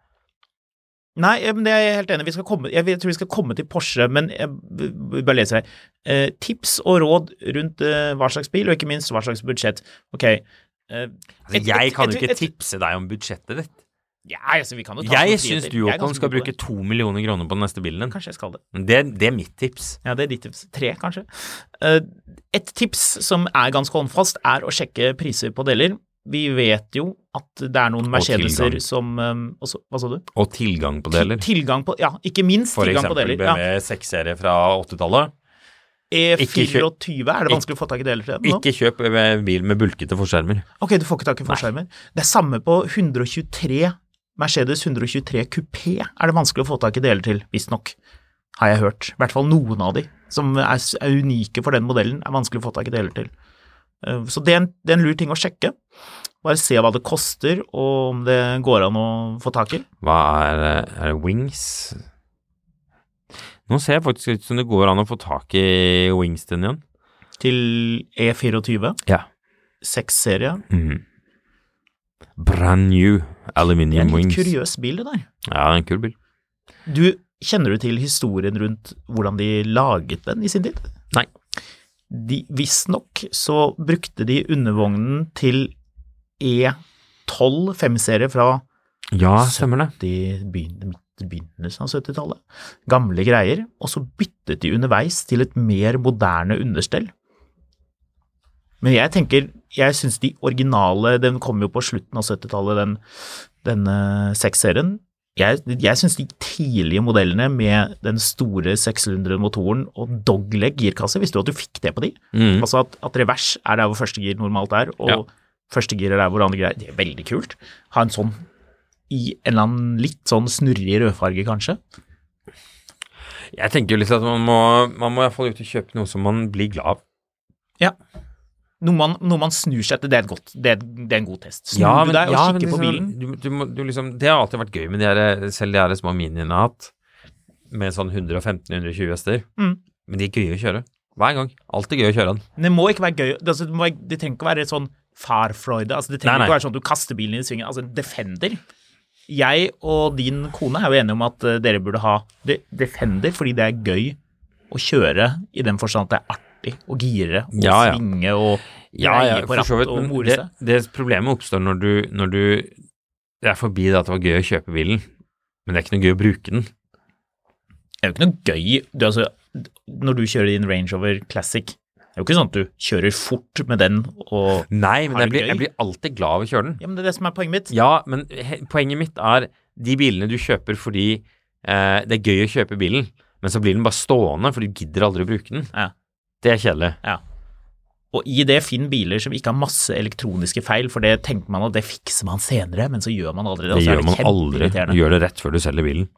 Speaker 3: Nei, eh, men det er jeg helt enig i. Vi skal komme- Jeg jeg tror vi skal komme til Porsche, men jeg b- b- bare leser her. Eh, tips og råd rundt eh, hva slags bil, og ikke minst hva slags budsjett. Ok. eh,
Speaker 4: Altså,
Speaker 3: et-
Speaker 4: jeg
Speaker 3: et-
Speaker 4: kan
Speaker 3: et-
Speaker 4: jo ikke
Speaker 3: et-
Speaker 4: tipse deg om budsjettet ditt.
Speaker 3: Ja, altså, vi kan jo ta
Speaker 4: Jeg
Speaker 3: oss noen
Speaker 4: syns
Speaker 3: friheter.
Speaker 4: du,
Speaker 3: Jeg er
Speaker 4: Håkon,
Speaker 3: ganske
Speaker 4: skal
Speaker 3: god på
Speaker 4: bruke
Speaker 3: det.
Speaker 4: to millioner kroner på den neste bilen din.
Speaker 3: Kanskje jeg skal det.
Speaker 4: Det, det er mitt tips.
Speaker 3: Ja, det er ditt tips. Tre, kanskje. Eh, Et tips som er ganske håndfast, er å sjekke priser på deler. Vi vet jo at det er noen Mercedeser
Speaker 4: tilgang.
Speaker 3: som eh, også, Hva sa du?
Speaker 4: Og tilgang på deler.
Speaker 3: Tilgang på Ja, ikke minst
Speaker 4: For
Speaker 3: tilgang på
Speaker 4: eksempel
Speaker 3: deler. Ja.
Speaker 4: BMW 6-serie fra 80-tallet. Ikke kjø-
Speaker 3: E24, er det
Speaker 4: Ik-
Speaker 3: vanskelig å få tak i deler til det nå?
Speaker 4: Ikke kjøp eh, bil med bulkete forskjermer.
Speaker 3: Ok, du får ikke tak i forskjermer. Det er samme på 123 Mercedes 123 Coupé er det vanskelig å få tak i deler til, visstnok, har jeg hørt. I hvert fall noen av de som er, s- er unike for den modellen, er vanskelig å få tak i deler til. Eh, Så det er, en, det er en lur ting å sjekke. Bare se hva det koster, og om det går an å få tak i.
Speaker 4: Hva er eh, Er det Wings? Nå ser jeg faktisk ut som det går an å få tak i Wings den igjen.
Speaker 3: Til E E24,
Speaker 4: Ja.
Speaker 3: 6-serie.
Speaker 4: Mhm. Brand new
Speaker 3: Det er
Speaker 4: aluminium
Speaker 3: en litt
Speaker 4: wings.
Speaker 3: kuriøs bil, det der.
Speaker 4: Ja, det er en kul bil.
Speaker 3: Du, kjenner du til historien rundt hvordan de laget den i sin tid?
Speaker 4: Nei.
Speaker 3: De, Visstnok så brukte de undervognen til E E12 5-serie fra
Speaker 4: Ja, stemmer det.
Speaker 3: de begyn- begynnelsen av 70-tallet. Gamle greier. Og så byttet de underveis til et mer moderne understell. Men jeg tenker, jeg syns de originale Den kom jo på slutten av 70-tallet, den, den eh, 6-serien. Jeg, jeg syns de tidlige modellene med den store 600-motoren og dogleg girkasse Visste du at du fikk det på de?
Speaker 4: Mhm.
Speaker 3: Altså at, at revers er der hvor første gir normalt er, og
Speaker 4: Ja.
Speaker 3: første gir er der hvor andre gir er. Det er veldig kult. Ha en sånn i en eller annen litt sånn snurrig rødfarge, kanskje.
Speaker 4: Jeg tenker jo litt at man må, man må i hvert fall ut og kjøpe noe som man blir glad av.
Speaker 3: Ja. Noe man, noe man snur seg etter, det er, et godt, det er, det er en god test. Snur du deg og kikker på bilen?
Speaker 4: liksom- Du, du, må- du liksom, det har alltid vært gøy med de her, eh, selv de her små miniene jeg har hatt, med sånn 115-120 hester.
Speaker 3: Mm.
Speaker 4: Men de er gøye å kjøre. Hver gang. Alltid gøy å kjøre den.
Speaker 3: Men Det må ikke være gøy. Det, altså, det, må, være- det trenger ikke å være sånn farfreude. Altså, det trenger
Speaker 4: Nei, nei.
Speaker 3: ikke å være sånn at du kaster bilen i svingen. Altså, en Defender. Jeg og din kone er jo enige om at eh, dere burde ha de- Defender fordi det er gøy å kjøre i den forstand at det er artig å gire og
Speaker 4: Ja, ja.
Speaker 3: svinge og dreie på
Speaker 4: for så
Speaker 3: rattet
Speaker 4: vidt,
Speaker 3: og
Speaker 4: men
Speaker 3: more
Speaker 4: det,
Speaker 3: seg.
Speaker 4: det problemet oppstår når du, når du Det er forbi det at det var gøy å kjøpe bilen, men det er ikke noe gøy å bruke den.
Speaker 3: Det er jo ikke noe gøy du, altså, når du kjører din Range Rover Classic. Det er jo ikke sånn at du kjører fort med den og
Speaker 4: Nei, men
Speaker 3: Er
Speaker 4: jeg
Speaker 3: det
Speaker 4: blir,
Speaker 3: gøy?
Speaker 4: jeg blir alltid glad av å kjøre den.
Speaker 3: Ja, men det er det som er poenget mitt.
Speaker 4: Ja, men he- poenget mitt er de bilene du kjøper fordi eh, det er gøy å kjøpe bilen, men så blir den bare stående, for du gidder aldri å bruke den.
Speaker 3: Ja.
Speaker 4: Det er kjedelig.
Speaker 3: Ja. Og i det finn biler som ikke har masse elektroniske feil, for det tenker man at det fikser man senere, men så gjør man aldri det. og
Speaker 4: Det
Speaker 3: så er
Speaker 4: gjør man aldri.
Speaker 3: kjempeirriterende.
Speaker 4: Du gjør det rett før du selger bilen.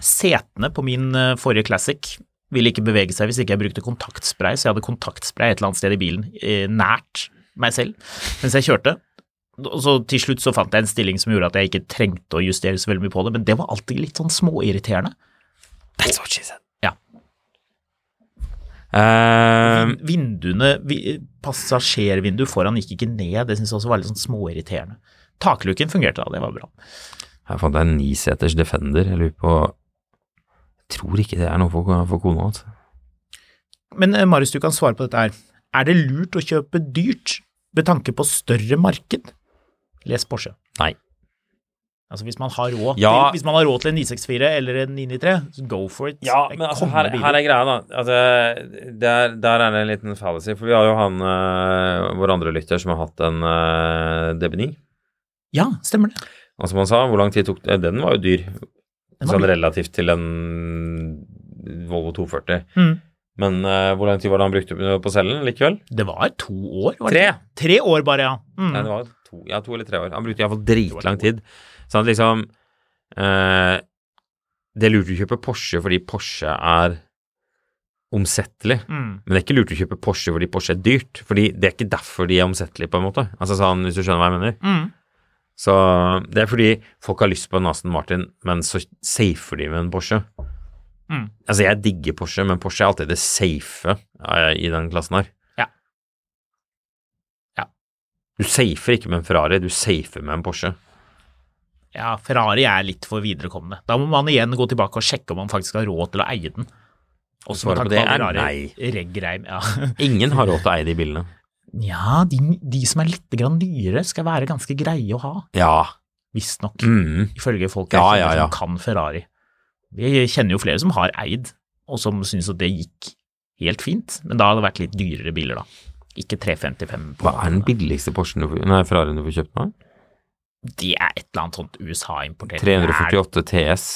Speaker 3: Setene på min eh, forrige Classic ville ikke bevege seg hvis ikke jeg brukte kontaktspray, så jeg hadde kontaktspray et eller annet sted i bilen, eh, nært meg selv, mens jeg kjørte. Og så til slutt så fant jeg en stilling som gjorde at jeg ikke trengte å justere så veldig mye på det, men det var alltid litt sånn småirriterende.
Speaker 4: That's what she said.
Speaker 3: Ja.
Speaker 4: Eh,
Speaker 3: Vin- Vinduene, vi, passasjervinduet foran gikk ikke ned, det syntes jeg også var litt sånn småirriterende. Takluken fungerte da, det var bra.
Speaker 4: Her fant jeg en niseters Defender. Jeg lurer på jeg Tror ikke det er noe for, for kona altså. hans.
Speaker 3: Men eh, Marius, du kan svare på dette her. Er det lurt å kjøpe dyrt med tanke på større marked? Les Porsche.
Speaker 4: Nei.
Speaker 3: Altså Hvis man har råd,
Speaker 4: Ja.
Speaker 3: til, hvis man har råd til en 964 eller en 993, så go for it.
Speaker 4: Ja,
Speaker 3: Det
Speaker 4: men altså,
Speaker 3: kommer
Speaker 4: her,
Speaker 3: biler.
Speaker 4: her er greia, da. Altså, der, der er det en liten fallacy. For vi har jo han, eh, vår andre lytter, som har hatt en uh, DB9.
Speaker 3: Ja, stemmer det.
Speaker 4: Og som han sa, hvor lang tid tok det? Den var jo dyr.
Speaker 3: Den var
Speaker 4: Sånn
Speaker 3: dyr.
Speaker 4: relativt til en Volvo 240.
Speaker 3: Mm.
Speaker 4: Men eh, hvor lang tid var det han brukte på cellen likevel?
Speaker 3: Det var to år, var det?
Speaker 4: Tre!
Speaker 3: ikke? Tre år bare, ja. Mm.
Speaker 4: Nei, det var to, ja, to eller tre år. Han brukte iallfall dritlang tid. Sånn at liksom eh, Det er lurt å kjøpe Porsche fordi Porsche er omsettelig.
Speaker 3: Mm.
Speaker 4: Men det er ikke lurt å kjøpe Porsche fordi Porsche er dyrt. Fordi det er ikke derfor de er omsettelige, på en måte. Altså sånn, hvis du skjønner hva jeg mener.
Speaker 3: Mm.
Speaker 4: Så det er fordi folk har lyst på en Aston Martin, men så safer de med en Porsche.
Speaker 3: Mm.
Speaker 4: Altså, jeg digger Porsche, men Porsche er alltid det safe eh, i den klassen her.
Speaker 3: Ja. Ja.
Speaker 4: Du safer ikke med en Ferrari, du safer med en Porsche.
Speaker 3: ja, Ferrari er litt for viderekommende. Da må man igjen gå tilbake og sjekke om man faktisk har råd til å eie den. Også
Speaker 4: Svaret
Speaker 3: med
Speaker 4: på
Speaker 3: tanke
Speaker 4: det
Speaker 3: på
Speaker 4: er
Speaker 3: at Ferrari
Speaker 4: nei.
Speaker 3: Reggreim, ja.
Speaker 4: Ingen har råd til å eie de bilene.
Speaker 3: ja, de, de som er litt grann nyere, skal være ganske greie å ha,
Speaker 4: Ja.
Speaker 3: visstnok.
Speaker 4: Mm.
Speaker 3: Ifølge folk
Speaker 4: Ja,
Speaker 3: jeg kjenner
Speaker 4: ja, ja.
Speaker 3: som kan Ferrari. Vi kjenner jo flere som har eid, og som syns at det gikk helt fint, men da hadde det vært litt dyrere biler, da. Ikke 355 på
Speaker 4: Hva er den billigste Porschen du får, nei, Ferrarien du får kjøpt nå?
Speaker 3: Det er et eller annet sånt USA-importert.
Speaker 4: 348 TS.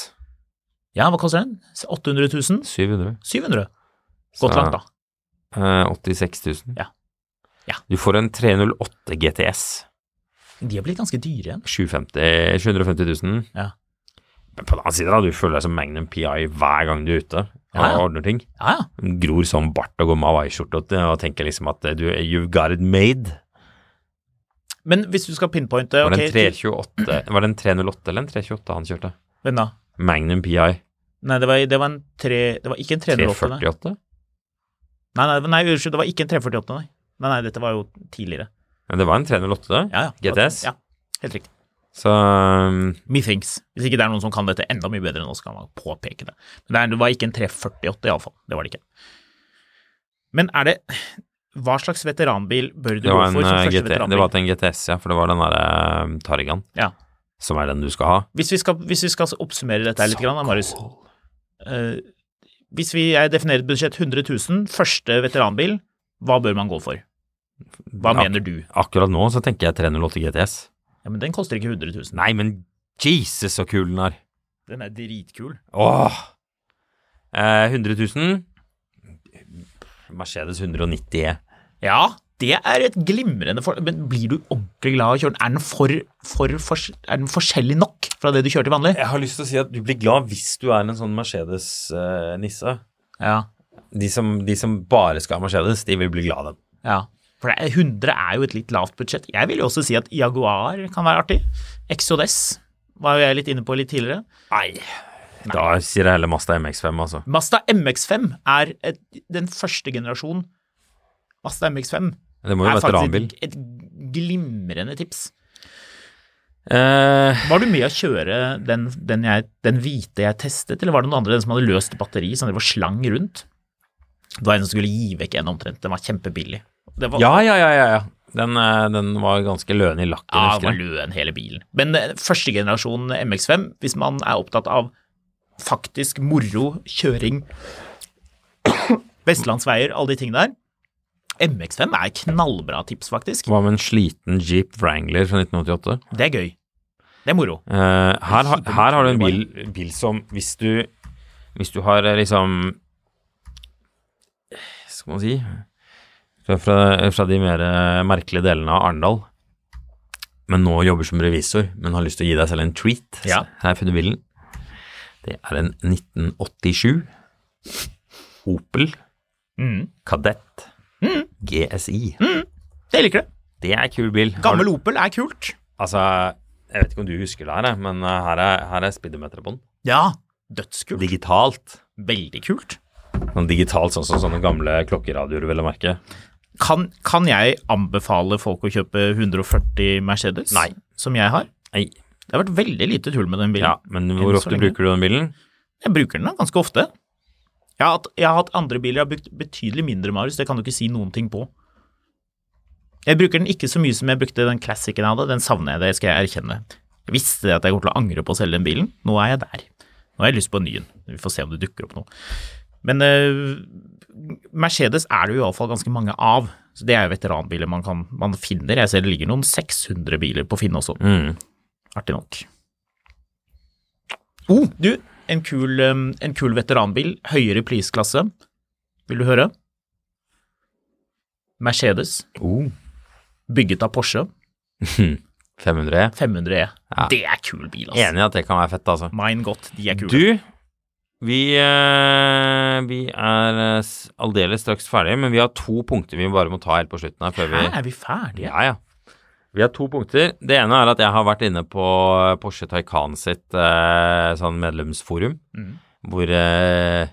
Speaker 3: Ja, hva koster den? 800 000?
Speaker 4: 700.
Speaker 3: 700 Godt
Speaker 4: Så-
Speaker 3: langt, da.
Speaker 4: Eh, 86 000.
Speaker 3: Ja. Ja.
Speaker 4: Du får en 308 GTS.
Speaker 3: De har blitt ganske dyre igjen.
Speaker 4: 750, 750 000.
Speaker 3: Ja.
Speaker 4: Men på den annen side, da, du føler deg som Magnum PI hver gang du er ute og
Speaker 3: Ja, ja.
Speaker 4: ordner ting.
Speaker 3: Ja, ja.
Speaker 4: Du Gror som bart og går med hawaiiskjorte og, og tenker liksom at eh, du, you've got it made.
Speaker 3: Men hvis du skal pinpointe
Speaker 4: Var det,
Speaker 3: ok,
Speaker 4: en 328, var det en 308 eller en 328 han kjørte?
Speaker 3: til- Hvem da?
Speaker 4: Magnum PI
Speaker 3: Nei, det var, det var en tre... Det var ikke en 308. nei.
Speaker 4: 348?
Speaker 3: Nei, nei, nei, unnskyld, det var ikke en 348, nei. Nei, nei, dette var jo tidligere.
Speaker 4: Men det var en 308, det.
Speaker 3: Ja, ja.
Speaker 4: GTS?
Speaker 3: Ja, helt riktig.
Speaker 4: Så um,
Speaker 3: Methinks. Hvis ikke det er noen som kan dette enda mye bedre enn oss, kan man påpeke det. Men det er- det var ikke en 348 iallfall. Det var det ikke. Men er det Hva slags veteranbil bør du
Speaker 4: det,
Speaker 3: gå
Speaker 4: var en,
Speaker 3: for som
Speaker 4: eh,
Speaker 3: første
Speaker 4: GT,
Speaker 3: veteranbil?
Speaker 4: det var til en GTS, ja, for det var den derre um, Tarigan
Speaker 3: Ja.
Speaker 4: som er den du skal ha.
Speaker 3: Hvis vi skal, hvis vi skal oppsummere dette her litt, grann, da, Marius. Eh, hvis vi jeg definerer et budsjett 100 000, første veteranbil, hva bør man gå for? Hva
Speaker 4: Ja.
Speaker 3: mener du?
Speaker 4: Akkurat nå så tenker jeg 308 GTS.
Speaker 3: Ja, men Den koster ikke 100 000.
Speaker 4: Nei, men Jesus, så kul den er.
Speaker 3: Den er dritkul.
Speaker 4: Åh! Eh, 100 000. Mercedes 190 E.
Speaker 3: Ja, det er et glimrende for... Men blir du ordentlig glad av å kjøre den? Er den, for, for, for, er den forskjellig nok fra det du kjører til vanlig?
Speaker 4: Jeg har lyst til å si at du blir glad hvis du er en sånn Mercedes-nisse.
Speaker 3: Ja.
Speaker 4: de, som, de som bare skal ha Mercedes, de vil bli glad av den.
Speaker 3: ja. For det er- 100 er jo et litt lavt budsjett. Jeg vil jo også si at Jaguar kan være artig. Exodus var jo jeg litt inne på litt tidligere.
Speaker 4: Nei. Da sier jeg heller Mazda MX5, altså.
Speaker 3: Mazda MX5 er et, den første generasjon Mazda MX5
Speaker 4: Det må jo
Speaker 3: er
Speaker 4: være veteranbil.
Speaker 3: faktisk et, et glimrende tips.
Speaker 4: Eh,
Speaker 3: Var du med å kjøre den, den, jeg, den hvite jeg testet, eller var det noen andre den som hadde løst batteri, som det var slang rundt? Det var en som skulle gi vekk en omtrent, den var kjempebillig. Det var,
Speaker 4: ja, ja, ja, ja. ja. Den, eh, den var ganske løen i lakken,
Speaker 3: ja, den
Speaker 4: husker
Speaker 3: var
Speaker 4: jeg.
Speaker 3: løen hele bilen. Men eh, første generasjon MX5, hvis man er opptatt av faktisk moro, kjøring, vestlandsveier, alle de tingene der, MX5 er knallbra tips, faktisk.
Speaker 4: Hva med en sliten Jeep Wrangler fra 1988?
Speaker 3: Det er gøy. Det er moro.
Speaker 4: Eh, her, har- her har du en bil, bil som hvis du, hvis du har eh, liksom Skal man si fra, fra, fra de mer eh, merkelige delene av Arendal, men nå jobber som revisor, men har lyst til å gi deg selv en treat.
Speaker 3: Ja.
Speaker 4: Her finner du bilen. Det er en 1987 Opel
Speaker 3: Mm.
Speaker 4: Kadett GSI.
Speaker 3: Jeg liker det.
Speaker 4: Det er en kul bil. Har
Speaker 3: Gammel
Speaker 4: du,
Speaker 3: Opel er kult.
Speaker 4: altså, jeg vet ikke om du husker det her, eh, men eh, her er, her er speedometeret på den.
Speaker 3: Ja, dødskult.
Speaker 4: Digitalt.
Speaker 3: Veldig kult.
Speaker 4: Sånn digitalt, sånn som sånne gamle klokkeradioer, vil jeg merke.
Speaker 3: Kan, kan jeg anbefale folk å kjøpe 140 Mercedes?
Speaker 4: Nei.
Speaker 3: som jeg har.
Speaker 4: Nei.
Speaker 3: Det har vært veldig lite tull med den bilen.
Speaker 4: Ja, men hvor
Speaker 3: Enn så
Speaker 4: ofte
Speaker 3: lenge.
Speaker 4: bruker du den bilen?
Speaker 3: Jeg bruker den da ganske ofte. Jeg har, hatt, jeg har hatt andre biler jeg har brukt betydelig mindre, Marius. Det kan du ikke si noen ting på. Jeg bruker den ikke så mye som jeg brukte den klassikken jeg hadde. Den savner jeg, det skal jeg erkjenne. Jeg visste at jeg kommer til å angre på å selge den bilen. Nå er jeg der. Nå har jeg lyst på en ny en. Vi får se om det dukker opp noe. Men eh, Mercedes er det jo iallfall ganske mange av. Så Det er jo veteranbiler man, kan, man finner. Jeg ser det ligger noen 600 biler på Finn også
Speaker 4: Mm.
Speaker 3: artig nok. Oh, du, en kul, um, en kul veteranbil, høyere prisklasse. Vil du høre? Mercedes,
Speaker 4: Oh.
Speaker 3: bygget av Porsche,
Speaker 4: 500 E.
Speaker 3: 500 E.
Speaker 4: Ja.
Speaker 3: Det er kul bil, altså.
Speaker 4: Enig i at det kan være fett, altså.
Speaker 3: Mine godt, de er kule.
Speaker 4: Du, vi, eh, vi er eh, s- aldeles straks ferdige, men vi har to punkter vi bare må ta helt på slutten her før vi
Speaker 3: Hæ, er vi ferdige?
Speaker 4: Ja, ja. Vi har to punkter. Det ene er at jeg har vært inne på eh, Porsche Taycan sitt eh, sånn medlemsforum,
Speaker 3: Mm.
Speaker 4: hvor eh,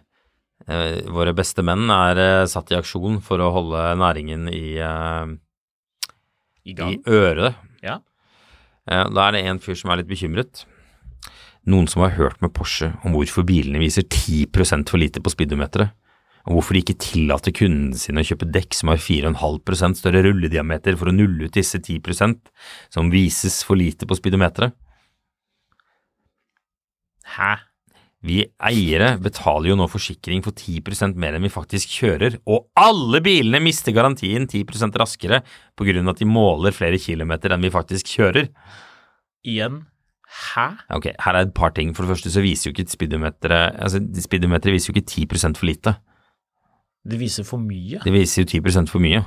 Speaker 4: eh, våre beste menn er eh, satt i aksjon for å holde næringen i, eh,
Speaker 3: I
Speaker 4: i
Speaker 3: gang?
Speaker 4: øret.
Speaker 3: Ja.
Speaker 4: Eh, da er det en fyr som er litt bekymret. Noen som har hørt med Porsche om hvorfor bilene viser 10 for lite på speedometeret, og hvorfor de ikke tillater kundene sine å kjøpe dekk som har 4,5 større rullediameter for å nulle ut disse 10 som vises for lite på speedometeret.
Speaker 3: Hæ?
Speaker 4: Vi eiere betaler jo nå forsikring for 10 mer enn vi faktisk kjører, og alle bilene mister garantien 10 raskere på grunn av at de måler flere kilometer enn vi faktisk kjører.
Speaker 3: Igjen? Hæ?
Speaker 4: Ok, her er et par ting. For det første så viser jo ikke speedometeret altså Speedometeret viser jo ikke 10 for lite.
Speaker 3: Det viser for mye.
Speaker 4: Det viser jo 10 for mye.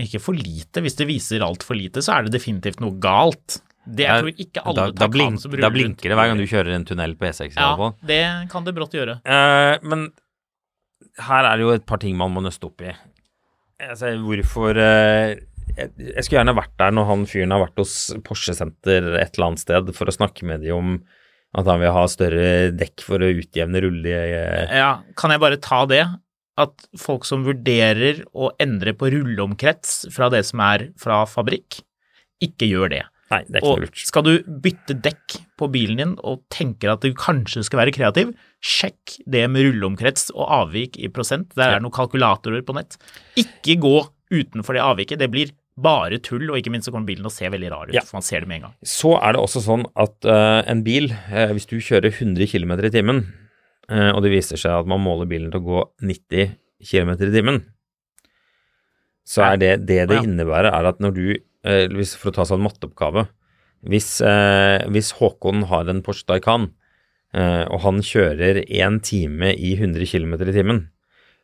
Speaker 3: Ikke for lite. Hvis det viser altfor lite, så er det definitivt noe galt. Det jeg tror ikke alle
Speaker 4: da, da,
Speaker 3: Taycan
Speaker 4: blink,
Speaker 3: som ruller
Speaker 4: da
Speaker 3: rundt-
Speaker 4: blinker det hver gang du kjører en tunnel på E6 i hvert
Speaker 3: Ja,
Speaker 4: fall.
Speaker 3: det kan det brått gjøre.
Speaker 4: Eh, men her er det jo et par ting man må nøste opp i. Altså, hvorfor eh, jeg, jeg skulle gjerne vært der når han fyren har vært hos Porsche Senter et eller annet sted for å snakke med de om at han vil ha større dekk for å utjevne rulle...
Speaker 3: Ja, kan jeg bare ta det? At folk som vurderer å endre på rulleomkrets fra det som er fra fabrikk, ikke gjør det.
Speaker 4: Nei, det er ikke
Speaker 3: Og
Speaker 4: noe lurt.
Speaker 3: skal du bytte dekk på bilen din og tenker at du kanskje skal være kreativ, sjekk det med rulleomkrets og avvik i prosent. Der er det noen kalkulatorer på nett. Ikke gå utenfor det avviket. Det blir bare tull, og ikke minst så kommer bilen til å se veldig rar ut,
Speaker 4: Ja.
Speaker 3: for man ser det med en gang.
Speaker 4: Så er det også sånn at eh, en bil, eh, hvis du kjører 100 km i timen, eh, og det viser seg at man måler bilen til å gå 90 km i timen, så er det det det
Speaker 3: Å, ja.
Speaker 4: innebærer, er at når du, eh, hvis, for å ta sånn matteoppgave, hvis, eh, hvis Håkon har en Porsche Taycan, eh, og han kjører én time i 100 km i timen,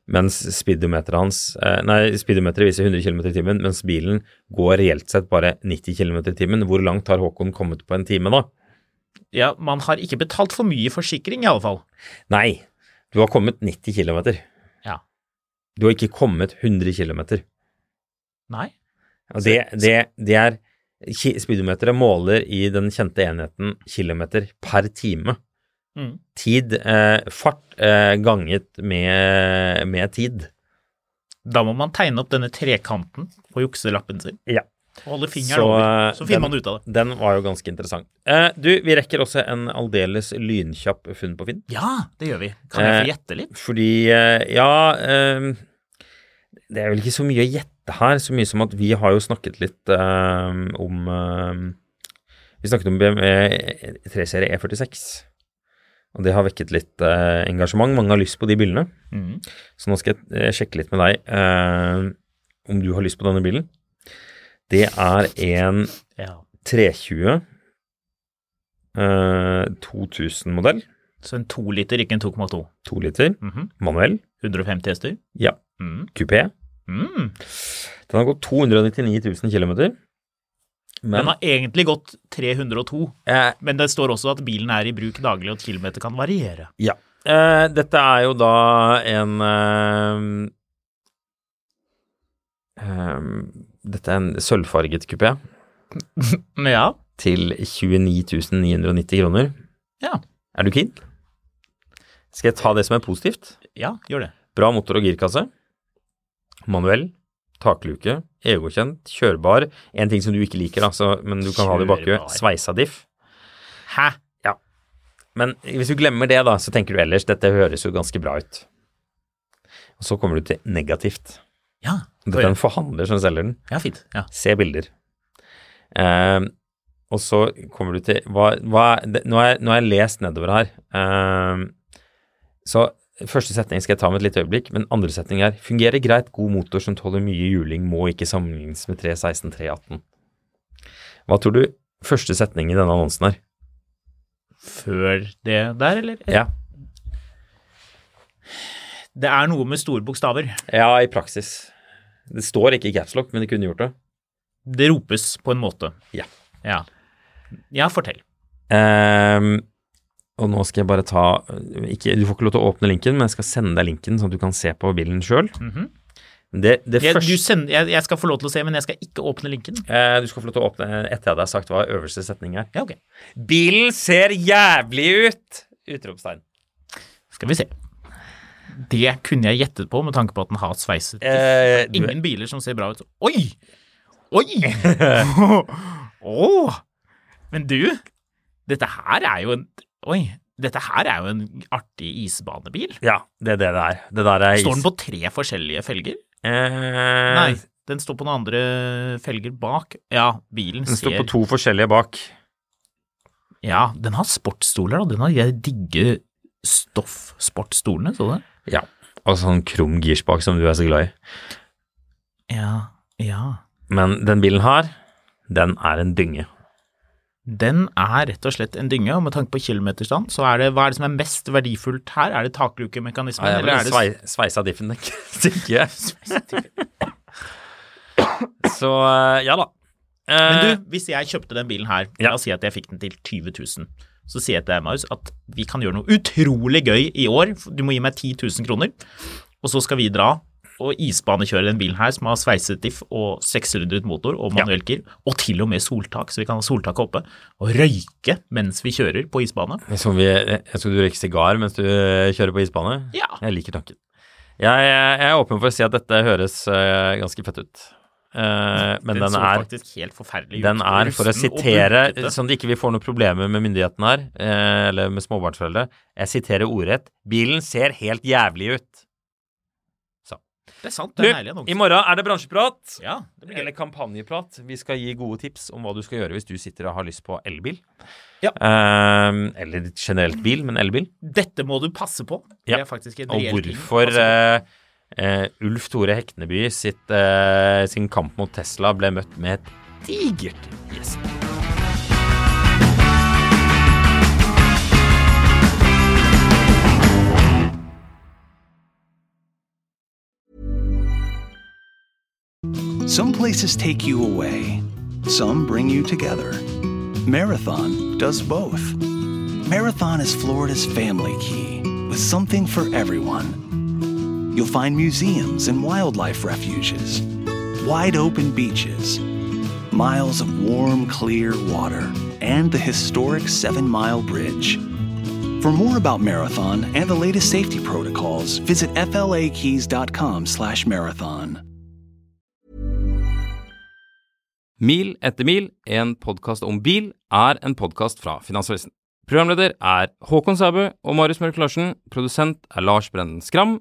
Speaker 4: mens speedometeret hans, eh, nei, speedometeret viser 100 km i timen, mens bilen går reelt sett bare 90 km i timen. Hvor langt har Håkon kommet på en time da?
Speaker 3: Ja, man har ikke betalt for mye i forsikring, i alle fall.
Speaker 4: Nei, du har kommet 90 km.
Speaker 3: Ja.
Speaker 4: Du har ikke kommet 100 km.
Speaker 3: Nei.
Speaker 4: Og
Speaker 3: Altså,
Speaker 4: det, det, det er ki- Speedometeret måler i den kjente enheten kilometer per time.
Speaker 3: Mm.
Speaker 4: Tid, eh, fart eh, ganget med, med tid.
Speaker 3: Da må man tegne opp denne trekanten på jukselappen sin.
Speaker 4: Ja.
Speaker 3: Og holde fingeren
Speaker 4: Så,
Speaker 3: over.
Speaker 4: eh,
Speaker 3: Så finner
Speaker 4: den-
Speaker 3: man ut av det.
Speaker 4: Den var jo ganske interessant. Eh, du, vi rekker også en aldeles lynkjapp funn på Finn.
Speaker 3: Ja, det gjør vi. Kan jeg få
Speaker 4: Eh,
Speaker 3: gjette litt?
Speaker 4: Fordi, eh, ja eh, Det er vel ikke så mye å gjette her, så mye som at vi har jo snakket litt eh, om eh, Vi snakket om BMW 3-serie E46. E Og det har vekket litt eh, engasjement. Mange har lyst på de bilene.
Speaker 3: Mm.
Speaker 4: Så nå skal jeg eh, sjekke litt med deg eh, om du har lyst på denne bilen. Det er en
Speaker 3: Ja.
Speaker 4: 320 eh, 2000-modell.
Speaker 3: Så en to liter, ikke en 2,2.
Speaker 4: To liter.
Speaker 3: Mhm.
Speaker 4: Manuell.
Speaker 3: 150 hester.
Speaker 4: Ja.
Speaker 3: Mm.
Speaker 4: Kupé.
Speaker 3: Mm.
Speaker 4: Den har gått 299 000 km. Men
Speaker 3: Den har egentlig gått 302,
Speaker 4: eh,
Speaker 3: men det står også at bilen er i bruk daglig, og at kilometer kan variere.
Speaker 4: ja. Eh, dette er jo da en eh, eh, Dette er en sølvfarget kupé
Speaker 3: Men ja,
Speaker 4: til 29 990 kroner.
Speaker 3: Ja.
Speaker 4: Er du keen? Skal jeg ta det som er positivt?
Speaker 3: ja, gjør det.
Speaker 4: Bra motor og girkasse. Manuell. takluke, EU-godkjent, kjørbar. En ting som du ikke liker, altså, men du kan ha det i
Speaker 3: Kjørbar.
Speaker 4: bakhjulet. Sveisa diff.
Speaker 3: Hæ?
Speaker 4: Ja. Men hvis du glemmer det, da, så tenker du ellers dette høres jo ganske bra ut. Og så kommer du til negativt.
Speaker 3: Ja,
Speaker 4: Dette er en forhandler som selger den.
Speaker 3: ja fint. Ja.
Speaker 4: Se bilder. Ehm, og så kommer du til hva, hva, det, nå, har jeg, nå har jeg lest nedover her. Ehm, så første setning skal jeg ta med et lite øyeblikk, men andre setning er fungerer greit, god motor som tåler mye juling, må ikke sammenlignes med 316 318. Hva tror du første setning i denne annonsen er?
Speaker 3: Før det der, eller?
Speaker 4: Ja,
Speaker 3: Det er noe med store bokstaver.
Speaker 4: ja i praksis. Det står ikke i capslock, men det kunne gjort det.
Speaker 3: Det ropes på en måte.
Speaker 4: Ja.
Speaker 3: Ja, ja fortell.
Speaker 4: Ehm, og nå skal jeg bare ta ikke, Du får ikke lov til å åpne linken, men jeg skal sende deg linken, sånn at du kan se på bilen sjøl. Det, det
Speaker 3: Jeg,
Speaker 4: første
Speaker 3: du sender, jeg, jeg skal få lov til å se, men jeg skal ikke åpne linken.
Speaker 4: Eh, Du skal få lov til å åpne etter jeg har sagt hva øverste setning er.
Speaker 3: Ja, ok.
Speaker 4: Bilen ser jævlig ut! Utropstegn.
Speaker 3: Skal vi se. Det kunne jeg gjettet på med tanke på at den har sveiset.
Speaker 4: Eh, du-
Speaker 3: Ingen biler som ser bra ut. Oi! Oi! Åh! Men du, dette her er jo en Oi. Dette her er jo en artig isbanebil.
Speaker 4: Ja, det er det det er. Det der er
Speaker 3: Står den på tre forskjellige felger?
Speaker 4: Eh,
Speaker 3: Nei, den står på noen andre felger bak. Ja, bilen
Speaker 4: Den står
Speaker 3: ser
Speaker 4: på to forskjellige bak.
Speaker 3: Ja, den har sportsstoler, da. Den har jeg digger stoffsportstolene, så du det?
Speaker 4: Ja. Og sånn krum girspak som du er så glad i.
Speaker 3: Ja, ja.
Speaker 4: Men den bilen her, den er en dynge.
Speaker 3: Den er rett og slett en dynge, og med tanke på kilometerstand, så er det hva er det som er mest verdifullt her? Er det taklukemekanismen,
Speaker 4: Nei, jeg
Speaker 3: eller
Speaker 4: ble
Speaker 3: er det
Speaker 4: svei, sveisa diffen, tenker jeg. Så eh, ja da. Eh,
Speaker 3: Men du, hvis jeg kjøpte den bilen her,
Speaker 4: Ja.
Speaker 3: la oss si at jeg fikk den til 20 000, så sier jeg til deg, Marius, at vi kan gjøre noe utrolig gøy i år. Du må gi meg 10 000 kroner, og så skal vi dra og isbanekjøre den bilen her som har sveiset diff og sekslydret motor og manuell gir, og til og med soltak, så vi kan ha soltaket oppe, og røyke mens vi kjører på isbane.
Speaker 4: Som vi, jeg tror du røyker sigar mens du eh, kjører på isbane.
Speaker 3: Ja.
Speaker 4: Jeg liker tanken. Jeg, jeg er åpen for å si at dette høres eh, ganske fett ut. Eh, men den,
Speaker 3: så
Speaker 4: er,
Speaker 3: faktisk helt forferdelig ut,
Speaker 4: den er, for å
Speaker 3: rusten og
Speaker 4: sitere, sånn-
Speaker 3: bulkete.
Speaker 4: som det ikke vil få noen problemer med myndigheten her, eh, eller med småbarnsforeldre, jeg siterer ordrett, bilen ser helt jævlig ut.
Speaker 3: Det er sant,
Speaker 4: Du,
Speaker 3: det er en ærlig
Speaker 4: i
Speaker 3: annonse.
Speaker 4: morgen er det bransjeprat.
Speaker 3: Ja, det blir gøy.
Speaker 4: Eller kampanjeprat. Vi skal gi gode tips om hva du skal gjøre hvis du sitter og har lyst på elbil.
Speaker 3: Ja.
Speaker 4: Ehm, eller generelt bil, men elbil.
Speaker 3: Dette må du passe på. Det
Speaker 4: Ja,
Speaker 3: er faktisk en
Speaker 4: Og
Speaker 3: reell ting.
Speaker 4: hvorfor
Speaker 3: Altså,
Speaker 4: eh, eh, Ulf Tore Hekneby sitt, eh, sin kamp mot Tesla ble møtt med et digert gjesp.
Speaker 7: Some places take you away, some bring you together. Marathon does both. Marathon is Florida's family key with something for everyone. You'll find museums and wildlife refuges, wide open beaches, miles of warm, clear water, and the historic Seven Mile Bridge. For more about Marathon and the latest safety protocols, visit flakeys.com slash marathon.
Speaker 8: Mil etter mil, en podkast om bil, er en podkast fra Finansavisen. Programleder er Håkon Sæbø og Marius Mørk Larsen. Produsent er Lars Brenden Skram.